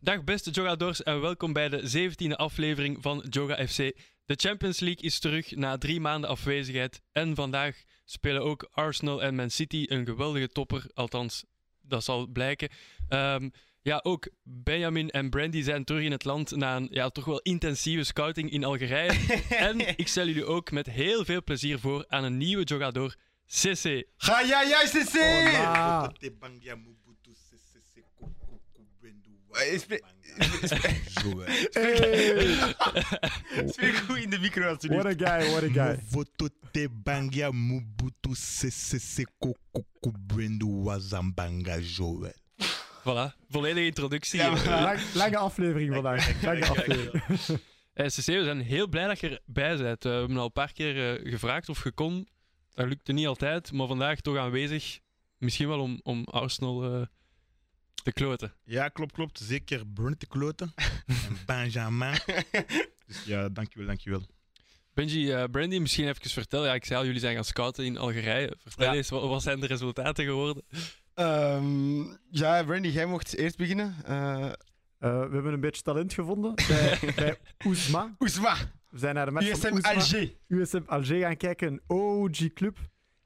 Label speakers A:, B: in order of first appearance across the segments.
A: Dag beste Jogadors en welkom bij de 17e aflevering van Joga FC. De Champions League is terug na drie maanden afwezigheid. En vandaag spelen ook Arsenal en Man City een geweldige topper. Althans, dat zal blijken. Ehm, ja, ook Benjamin en Brandy zijn terug in het land na een ja, toch wel intensieve scouting in Algerije. en ik stel jullie ook met heel veel plezier voor aan een nieuwe Jogador, CC.
B: Ga jij juist eens
C: Oh,
B: zien!
C: Hola.
B: Eh, spreek- Spreek goed in de micro
C: What
B: alsjeblieft.
C: a guy, what a guy.
D: Votote bangia mubutu ccc kokuku brendu wazambanga joel.
A: Voilà, volledige introductie.
B: Ja, maar-
C: Lang- lange aflevering vandaag. Lange aflevering.
A: Eh, CC, we zijn heel blij dat je erbij bent. Eh, we hebben al een paar keer eh, gevraagd of je kon. Dat lukte niet altijd, maar vandaag toch aanwezig. Misschien wel om, om Arsenal eh, te kloten.
D: Ja, klopt, klopt. Zeker Brunt te kloten. En Benjamin. Dus ja, dankjewel, dankjewel.
A: Benji, eh, Brandy, misschien even vertellen. Ja, ik zei al, jullie zijn gaan scouten in Algerije. Vertel
B: Ja.
A: eens, wat, wat zijn de resultaten geworden?
B: Ehm, ja, Brandy, jij mocht eerst beginnen. Eh
C: Eh, we hebben een beetje talent gevonden bij, bij Oesma.
B: Oesma,
C: We zijn naar de match van
B: USM
C: Oesma-
B: Alger.
C: USM Alger gaan kijken. Een OG-club.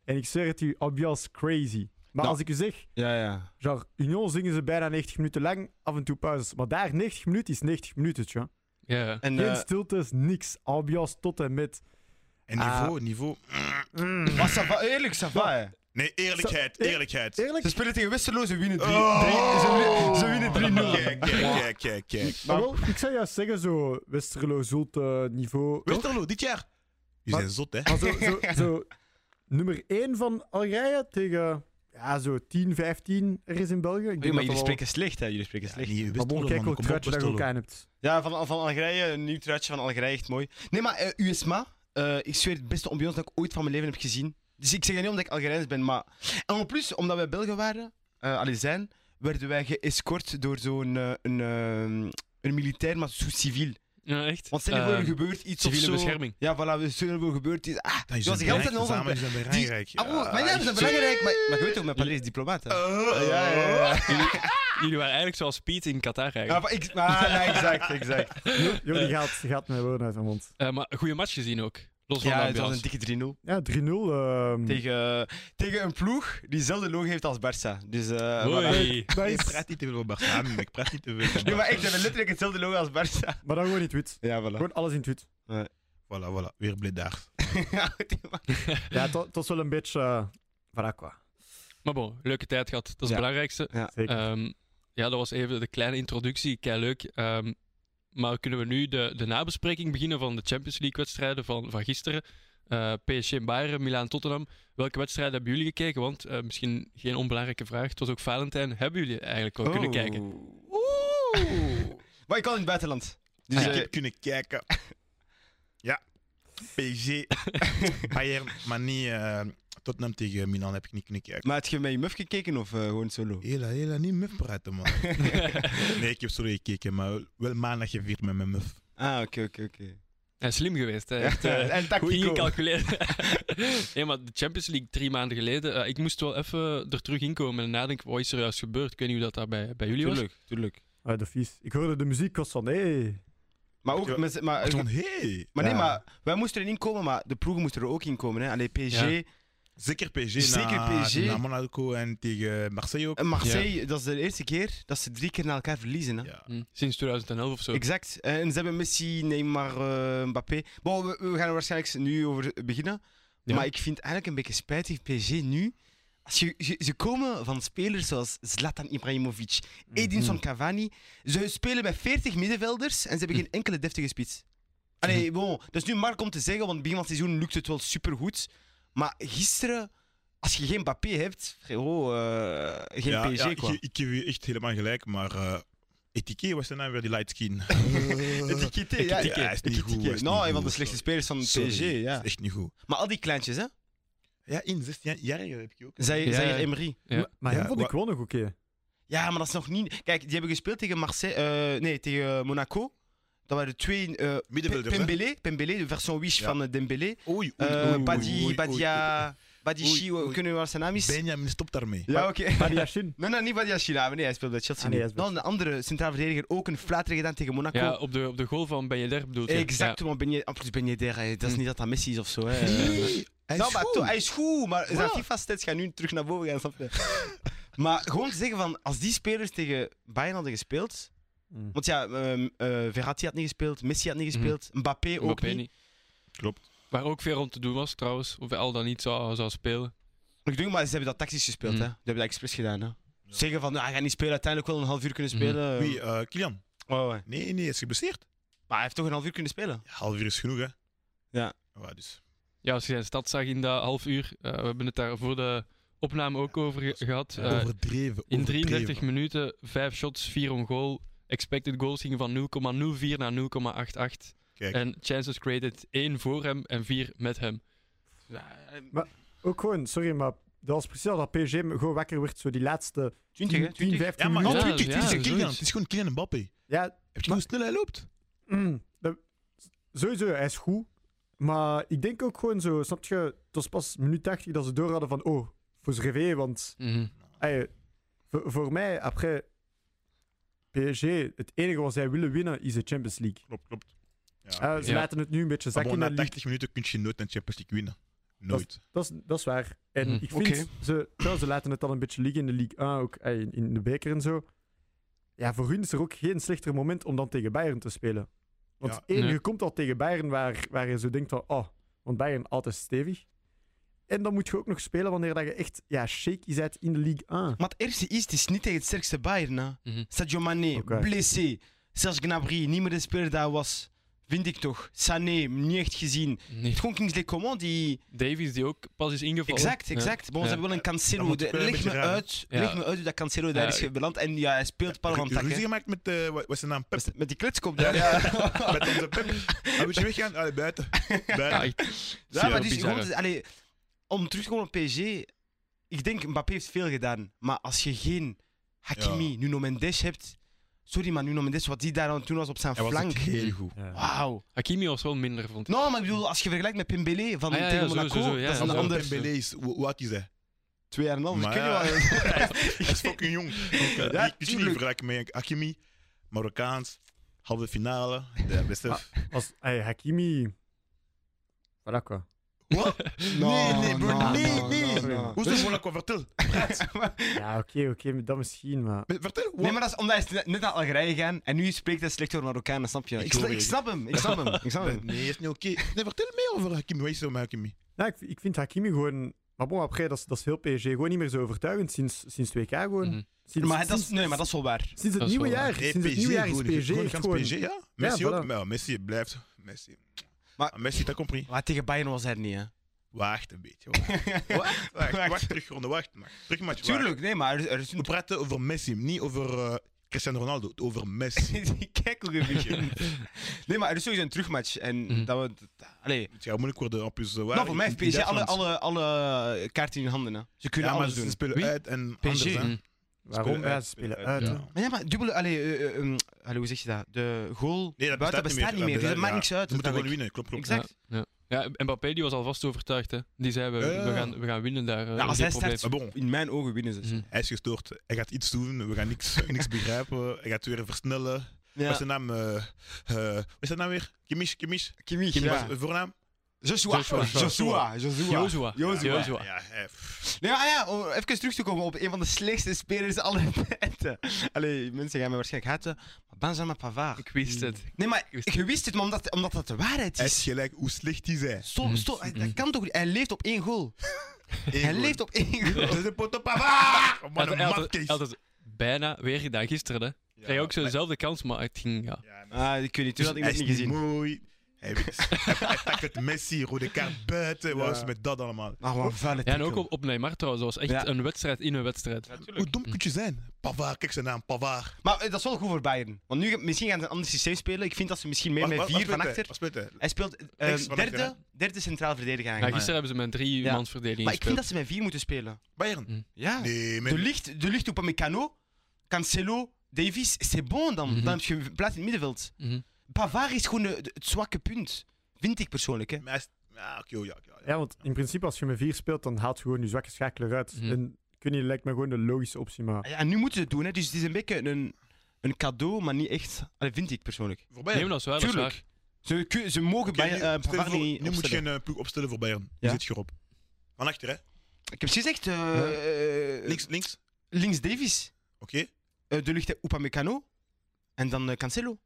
C: En ik zeg het u, ambiance crazy. Maar
B: Nou.
C: als ik u zeg,
B: Ja, ja.
C: genre, Union zingen ze bijna 90 minuten lang, af en toe pauzes. Maar daar 90 minuten is 90 minuten, tja.
A: Ja,
B: En,
C: Geen
B: eh
C: stiltes, niks. Ambiance tot en met.
D: En
C: Ah.
D: niveau, niveau.
B: maar Ah, ça va, eerlijk, ça va. hè.
D: Nee, eerlijkheid,
C: Zo-
D: eerlijkheid.
C: Eerlijk?
B: Ze spelen tegen Westerlo, ze winnen 3-0.
D: Oh.
B: Ze winnen 3-0.
D: Kijk, kijk, kijk, kijk, kijk.
C: Maar wel, ik zou juist zeggen, zo Westerlo, Zult eh, niveau.
D: Westerlo, dit jaar. Je
C: Maar-
D: zijn zot, hè?
C: Maar zo, zo, zo nummer 1 van Algerije tegen ja, zo 10, 15 er is in België. Ik denk
B: maar
C: dat
B: jullie
C: dat wel-
B: spreken slecht, hè? Jullie spreken slecht.
D: niet
C: Maar bon,
D: Westerlo,
C: kijk
D: man.
C: welk
D: Kom op,
C: truitje dat je ook
D: Westerlo.
C: aan hebt.
B: Ja, van, van Algerije, een nieuw truitje van Algerije, echt mooi. Nee, maar eh, USMA, eh, ik zweer het beste ambiance dat ik ooit van mijn leven heb gezien. Dus ik zeg dat niet omdat ik Algerijns ben, maar... En op plus, omdat wij Belgen waren, eh allee, zijn, werden wij geëscort door zo'n eh, een, eh, een militair, maar zo civiel.
A: ja echt.
B: Want stel je voor,
A: Eh,
B: er gebeurt iets
A: civiele
B: of zo...
A: bescherming.
B: Ja, voilà, stel je voor, er gebeurt iets... Ah,
D: Dan is
B: Ja,
D: het
B: ze gaan altijd
D: belangrijk, samen
B: nog
D: zijn
B: Die-
D: belangrijk.
B: ah, oh, maar ja, dat is belangrijk, maar, maar je weet ook, mijn Parijs is diplomaat, hè.
D: Eh,
B: ja, ja, ja.
A: Jullie, jullie waren eigenlijk zoals Piet in Qatar eigenlijk.
B: Ja, maar ik, ah, ja, exact, exact.
C: Jullie gaat, gaat mijn woorden uit mijn mond.
A: Eh, maar goede match gezien ook. Los van
B: Ja,
A: de
B: het was
A: ambiance. Hmm.
B: een dikke 3-0.
C: Ja, 3-0. ehm,
B: Tegen, tegen een ploeg die dezelfde logo heeft als Barça. Dus, eh
A: Hoi.
B: voilà.
C: dat
D: Ik
C: is,
D: praat niet te veel over Barca, ik praat niet te veel over
B: Nee, maar
D: Barca.
B: echt, ze hebben letterlijk hetzelfde logo als Barça.
C: maar dan gewoon in het wit.
B: Ja, voilà.
C: Gewoon alles in het wit.
D: Voilà, voilà, weer bledaags.
C: Ja, het wa- het was wel een beetje... eh, voilà, qua.
A: Maar bon, leuke tijd gehad. Dat is
B: Ja.
A: het belangrijkste.
C: Zeker.
B: Eh.
A: Ehm, ja, dat was even de kleine introductie. Kei leuk. Ehm, maar kunnen we nu de, de nabespreking beginnen van de Champions League-wedstrijden van, van gisteren? Eh, PSG Bayern, Milaan Tottenham. Welke wedstrijden hebben jullie gekeken? Want eh, misschien geen onbelangrijke vraag. Het was ook Valentijn. Hebben jullie eigenlijk wel kunnen kijken?
B: Oeh. Oh. maar ik kan in het buitenland. Dus
A: Ah,
D: ik
B: eh,
D: heb kunnen kijken. Ja, PSG, Bayern, maar niet eh, Tottenham tegen Milan heb ik niet kunnen kijken.
B: maar heb je met je muf gekeken of eh, gewoon solo?
D: Hela, hela, niet muf praten, man. nee, ik heb sorry gekeken, maar wel maandag gevierd met mijn muf.
B: Ah, oké, oké, oké.
A: Eh, slim geweest. Hè? Echt, eh,
B: en
A: Goed
B: tactico.
A: ingecalculeerd. nee, maar de Champions League drie maanden geleden. eh, ik moest wel even er terug inkomen en nadenken. Wat is er juist gebeurd? Ik weet niet hoe dat daar bij, bij jullie was.
B: Tuurlijk, tuurlijk.
C: Ah, dat vies. Ik hoorde de muziek, ik was van... Hey.
B: Maar ook, met, maar,
D: Toen, hey,
B: maar nee,
C: Ja.
B: maar wij moesten erin komen, maar de ploegen moesten er ook in komen. Hè. Allee, PSG
A: Ja.
D: zeker PSG,
B: Zeker
D: naar,
B: PSG.
D: naar Monaco en tegen Marseille ook.
B: en Marseille, dat is de eerste keer dat ze drie keer naar elkaar verliezen. Hè.
D: Ja.
A: Hm, sinds 2011 of zo.
B: Exact. Eh, En ze hebben Messi, Neymar, eh, Mbappé. Bon, we, we gaan er waarschijnlijk nu over beginnen.
A: Ja.
B: Maar ik vind het eigenlijk een beetje spijtig PSG nu. Als je, ze, ze komen van spelers zoals Zlatan Ibrahimovic, Edinson Cavani. Ze spelen bij 40 middenvelders en ze hebben geen enkele deftige spits. Allee, bon, dat is nu makkelijk om te zeggen, want begin van het seizoen lukt het wel supergoed. Maar gisteren, als je geen Mbappé hebt, frérot, eh, geen
D: Ja,
B: PSG
D: ja,
B: qua.
D: ik, ik geef je echt helemaal gelijk, maar eh Etiqué was daarna weer die light skin.
B: Etiquette, ja,
D: Etiquette,
B: ja,
D: is niet goed,
B: etiquette.
D: is niet
B: Nou, een
D: goed,
B: van de slechtste
D: sorry.
B: spelers van
D: Sorry,
B: PSG,
D: dat
B: ja.
D: is echt niet goed.
B: Maar al die kleintjes, hè?
D: Ja, in 16 jaar heb je ook.
B: Zij,
A: Ja,
B: zij
A: ja.
B: Emery.
A: Ja.
C: Maar, maar hem
D: Ja,
C: vond ik wel nog oké.
B: Ja, maar dat is nog niet. Kijk, die hebben gespeeld tegen Marseille, eh, nee, tegen Monaco. Dat waren twee. eh Pe-
D: Middenvelder.
B: Pembele, Pembele, de version 8
D: Ja.
B: van eh, Dembele.
D: Oei,
B: Eh, Badi, Badia. Badishi,
D: Oei,
B: we
D: oei.
B: kunnen we wel zijn naam is?
D: Benjamin, stop daarmee.
B: Ja, oké.
C: Badiashin.
B: Nee, nee, niet Badiashi. Nee, nee, hij speelt bij Chelsea.
C: Ah, nee,
B: nu.
C: hij is bij
B: Dan de andere centraal verdediger ook een flater gedaan tegen Monaco.
A: Ja, op de, op de goal van Ben je der bedoelt je?
B: Ah, exact, want ben je, en plus ben je daar, hè. dat is
A: Hm.
B: niet dat dat Messi is of zo. Hè.
D: Nee, hij
B: Nou,
D: is
B: maar
D: goed.
B: toch, hij is goed, maar zijn
D: Ja.
B: FIFA-stats gaan nu terug naar boven gaan. Snap je? maar gewoon te zeggen van, als die spelers tegen Bayern hadden gespeeld.
C: Mm.
B: Want ja, ehm, eh, Verratti had niet gespeeld, Messi had niet
A: Mhm.
B: gespeeld, Mbappé
A: Ja,
B: ook
A: Mbappé
B: niet.
A: niet.
D: Klopt.
A: Waar ook veel om te doen was trouwens, of hij al dan niet zou, zou spelen.
B: Ik denk, maar ze hebben dat tactisch gespeeld,
A: Mhm.
B: hè? Dat hebben dat expres gedaan, hè? Zeggen van, nou, hij gaat niet spelen, uiteindelijk wel een half uur kunnen
A: Mhm.
B: spelen.
D: Wie? eh, Kilian?
B: Oh, oh.
D: Nee, nee, hij is geblesseerd.
B: Maar hij heeft toch een half uur kunnen spelen.
D: Ja, half uur is genoeg, hè?
B: Ja.
D: dus.
A: Ja, als je zijn stad zag in dat half uur, eh, we hebben het daar voor de opname ook over ge- gehad. Eh,
D: overdreven.
A: in
D: overdreven.
A: 33 minuten, 5 shots, 4 on goal. Expected goals gingen van 0,04 naar 0,88.
D: Kijk.
A: En chances created 1 voor hem en 4 met hem.
C: Ook gewoon, sorry, maar dat was precies al dat PSG me gewoon wakker werd, zo die laatste
B: 20, hè?
C: 10,
B: 20.
C: 15
D: Ja, maar
A: Ja,
C: minuten.
D: 20, 20,
A: ja,
D: Kilian.
A: zoiets.
D: Het is gewoon Kilian Mbappé.
C: Ja,
D: Heb je hoe snel hij loopt?
C: mm, dat- sowieso, hij is goed. Maar ik denk ook gewoon zo, snap je, het was pas minuut 80 dat ze door hadden van, oh, voor Zrevé, want
B: Mhm.
C: ey, voor, voor mij, après PSG, het enige wat zij willen winnen is de Champions League.
D: Klopt, klopt. Ja,
C: Eh, ze
A: Ja.
C: laten het nu een beetje
D: Maar
C: zakken.
D: bon, na
C: in de league.
D: 80 minuten kun je nooit een Champions League winnen. Nooit.
C: Dat is, dat is waar. En
A: Mhm.
C: ik vind, ze, trouwens, ze laten het al een beetje liggen in de League 1, ook eh, in, in de beker en zo. Ja, voor hun is er ook geen slechter moment om dan tegen Bayern te spelen. Want
D: Ja.
C: één,
A: Nee.
C: je komt al tegen Bayern waar, waar je zo denkt van, oh, want Bayern altijd stevig. En dan moet je ook nog spelen wanneer dat je echt ja, shaky bent in de League 1.
B: Maar het eerste is, het is niet tegen het sterkste Bayern. Hè.
A: Mhm.
B: Sadio Mané,
C: Oké.
B: blessé. Serge Gnabry, niet meer de speler dat hij was. Vind ik toch. Sané, niet echt gezien. Het
A: Nee.
B: is gewoon Kingsley Coman die...
A: Davies die ook pas is ingevallen.
B: Exact, exact. Bon, ze
A: Ja.
B: hebben wel een Cancelo.
D: moet
B: De-
D: wel een
B: Leg
D: beetje
B: me
D: raar, hè?
B: uit,
A: Ja.
B: leg me uit hoe dat Cancelo daar
A: Ja,
B: is
A: ik-
B: beland. En ja, hij speelt pas van
D: Ru-
B: tak,
D: Ruzie
B: hè.
D: gemaakt met, eh, wat wat is zijn naam? Pep.
B: Met- Met die kletskop daar. Ja,
D: Met onze Pep. Hij moet je weggaan. Allee, buiten.
A: Ja,
D: Buiten.
A: echt.
B: Ja, maar
A: Zeer
B: dus
A: bizar,
B: gewoon, allee, om terug te komen op PSG. Ik denk, Mbappé heeft veel gedaan. Maar als je geen Hakimi,
D: Ja.
B: Nuno Mendes hebt... Sorry, maar Nuno Mendes, wat die daar aan het doen was op zijn
D: Hij was ook
B: flank.
D: heel goed.
B: Wauw.
A: Hakimi was wel minder, vond ik.
B: Nou, maar ik bedoel, als je vergelijkt met Pembele van
A: Ah, ja, ja,
B: tegen
A: zo,
B: Monaco,
A: zo, zo, ja,
B: dat is een
A: zo.
B: ander...
D: Dembélé is... hoe- Hoe oud is hij?
B: Twee jaar en een half, dus
D: Maar
B: ik weet
D: ja.
B: niet wat-
D: Hij is fucking jong.
B: Ja,
D: Ik ja, ik
B: tuurlijk.
D: niet vergelijken met Hakimi, Marokkaans, halve finale, de beste.
C: Als ey, Hakimi... Voilà quoi.
D: Wat? Nee, nee, bro,
B: no,
D: nee,
B: no,
D: nee.
B: no, no.
D: Hoe is dat Monaco? Vertel.
C: Ja, oké, oké, dat misschien, maar...
D: Vertel.
B: Nee, maar dat is omdat hij is net naar Algerije gegaan en nu spreekt hij slecht door Marokkanen, snap je?
D: Ik
B: Ik,
D: hoor
B: sna- ik
D: je.
B: snap hem, ik snap hem, ik snap hem.
D: Nee, is niet oké. Nee, vertel meer over Hakimi. Wat is er met Hakimi?
C: Nou, ik, ik vind Hakimi gewoon... Maar bon, après, dat is, dat is heel PSG gewoon niet meer zo overtuigend sinds, sinds 2K gewoon.
A: Mhm.
C: Sinds-
B: Maar dat is,
C: sinds-
B: nee, maar dat is wel waar.
C: Sinds het
A: Dat is
C: nieuwe
A: wel
C: jaar.
A: waar.
D: Nee,
C: Sinds het nieuwe jaar is
D: gewoon-
C: PSG
D: gewoon
C: echt
D: gans
C: gewoon...
D: PSG, ja. Messi
C: Ja,
D: ook.
C: voilà.
D: Maar Messi blijft. Messi.
B: Maar-
D: Maar Messi, dat compris.
B: Maar tegen Bayern was hij er niet, hè?
D: Wacht een beetje. Wacht, wacht, wacht,
B: Wacht.
D: wacht terugronde, wacht. Maar. Terug match, wacht.
B: Tuurlijk, nee, maar er, er is
D: We
B: een...
D: praten over Messi, niet over eh, Cristiano Ronaldo, over Messi.
B: Kijk hoe je begint. Nee, maar er is sowieso een terugmatch en
A: Mhm.
B: dat we... dat- Allee.
D: Het gaat moeilijk worden, en plus. eh, waar?
B: Nou, voor mij
D: In-
B: heeft
D: in
B: PSG alle,
D: Duitsland.
B: alle, alle eh, kaarten in handen, hè. Ze kunnen
D: ja, maar
B: alles
D: ze
B: doen.
D: spelen
A: Wie?
D: uit en
B: PSG.
D: anders, hè.
A: Mm.
C: Waarom? Ja, ze spelen uit. hè.
B: Maar ja, maar dubbele... Allee, eh, eh, ehm, allee, hoe zeg je dat? De goal
D: Nee, dat
B: buiten bestaat niet meer, dus dat maakt niks uit.
D: We moeten gewoon
B: uiteindelijk.
D: winnen, klopt, klopt.
B: Exact.
A: Ja, ja. ja, Mbappé die was alvast overtuigd. Hè. Die zei, we,
D: Ja, ja,
A: we,
D: ja.
A: gaan, we gaan winnen daar. eh,
B: Ja, Mhm. als
A: geen Mhm.
B: hij start,
D: Maar bon,
B: in mijn ogen winnen ze.
A: probleem.
D: hij is gestoord. Hij gaat iets doen, we gaan niks, niks begrijpen. Hij gaat weer versnellen. Wat is zijn naam? eh, eh, wat is zijn naam weer? Kimish, Kimish?
B: Kimmich,
D: Kimish,
B: ja.
D: voornaam?
B: Joshua.
A: Joshua.
B: Joshua. Joshua.
A: Joshua.
B: Joshua.
A: Joshua.
D: Ja, hij- pff.
B: Nee, maar ja, om even terug te komen op een van de slechtste spelers aller tijden. Allee, mensen gaan me waarschijnlijk haten, maar Benjamin Pavard.
A: Ik wist het.
B: Nee, maar
A: wist
B: je wist het, maar omdat, omdat dat de waarheid
D: hij is
B: is.
D: gelijk, hoe slecht is hij?
A: Mm.
B: Stop, stop, hij- dat kan toch niet? Hij leeft op één goal. Hij leeft op één goal.
D: Dat is een pot op Pavard! Oh,
A: Hij
D: Man,
A: had-
D: een
A: hij had het-
D: matkees.
A: hij had het bijna weer gedaan gisteren. Hè.
D: Ja,
A: Kreeg ook
D: maar-
A: zo'nzelfde kans, maar het ging... Ja. Dus
D: Ja, maar-
B: Ah, ik weet niet, toen had ik
D: hij
B: dat
D: is
B: niet
D: niet
B: gezien.
D: mooi. Hij hij- hij tackelt Messi, rode kaart buiten.
C: Ja.
D: Wat is met dat allemaal?
B: Ah, wat een vuile
A: Ja, en ook
B: tikkel.
A: op, op Neymar trouwens. Dat was echt
B: Ja.
A: een wedstrijd in een wedstrijd.
D: Hoe dom kun je zijn? Pavard, kijk zijn naam, Pavard.
B: Maar eh, dat is wel goed voor Bayern. Want nu, misschien gaan ze een ander systeem spelen. Ik vind dat ze misschien meer
D: Wat-
B: met
D: wat-
B: vier
D: wat
B: van
D: speelt hij?
B: achter.
D: Wat speelt hij?
B: Hij speelt eh,
D: Rechts van achter,
B: derde, derde centraal verdediger
A: Ja,
B: eigenlijk.
A: gisteren hebben ze met drie
B: Ja.
A: mansverdeling
B: maar ik vind
A: gespeeld.
B: dat ze met vier moeten spelen.
D: Bayern.
B: Ja.
D: Nee,
B: De
D: man.
B: licht, de licht op Amecano, Cancelo, Davies, c'est bon dan.
A: Mhm.
B: Dan heb je een plaats in het middenveld.
A: Mhm.
B: Pavard is gewoon de- de- het zwakke punt. Vind ik persoonlijk, hè.
D: Maar hij is- Ja, oké, oh, ja, ja, ja.
C: Ja, want in principe als je met vier speelt, dan haalt je gewoon je zwakke schakel eruit.
A: Mhm.
C: En ik weet niet, lijkt me gewoon de logische optie, maar...
B: Ja, en nu moeten ze het doen, hè. dus het is een beetje een, een cadeau, maar niet echt. Dat vind ik persoonlijk.
D: Voor
A: Nee,
D: Bayern.
A: maar dat is wel dat is
B: Tuurlijk.
A: waar.
B: Ze, kun- ze mogen
D: Oké,
B: bij
D: nu,
B: eh,
D: stel je
B: Pavard
D: voor-
B: niet
D: nu moet je
B: opstellen.
D: een eh, ploeg opstellen voor Bayern.
B: Ja.
D: Nu zit je erop. Van achter, hè?
B: Ik heb precies gezegd, eh, eh,
D: Links, links.
B: links Davies,
D: Oké.
B: Eh, de lucht Upamecano en dan eh, Cancelo.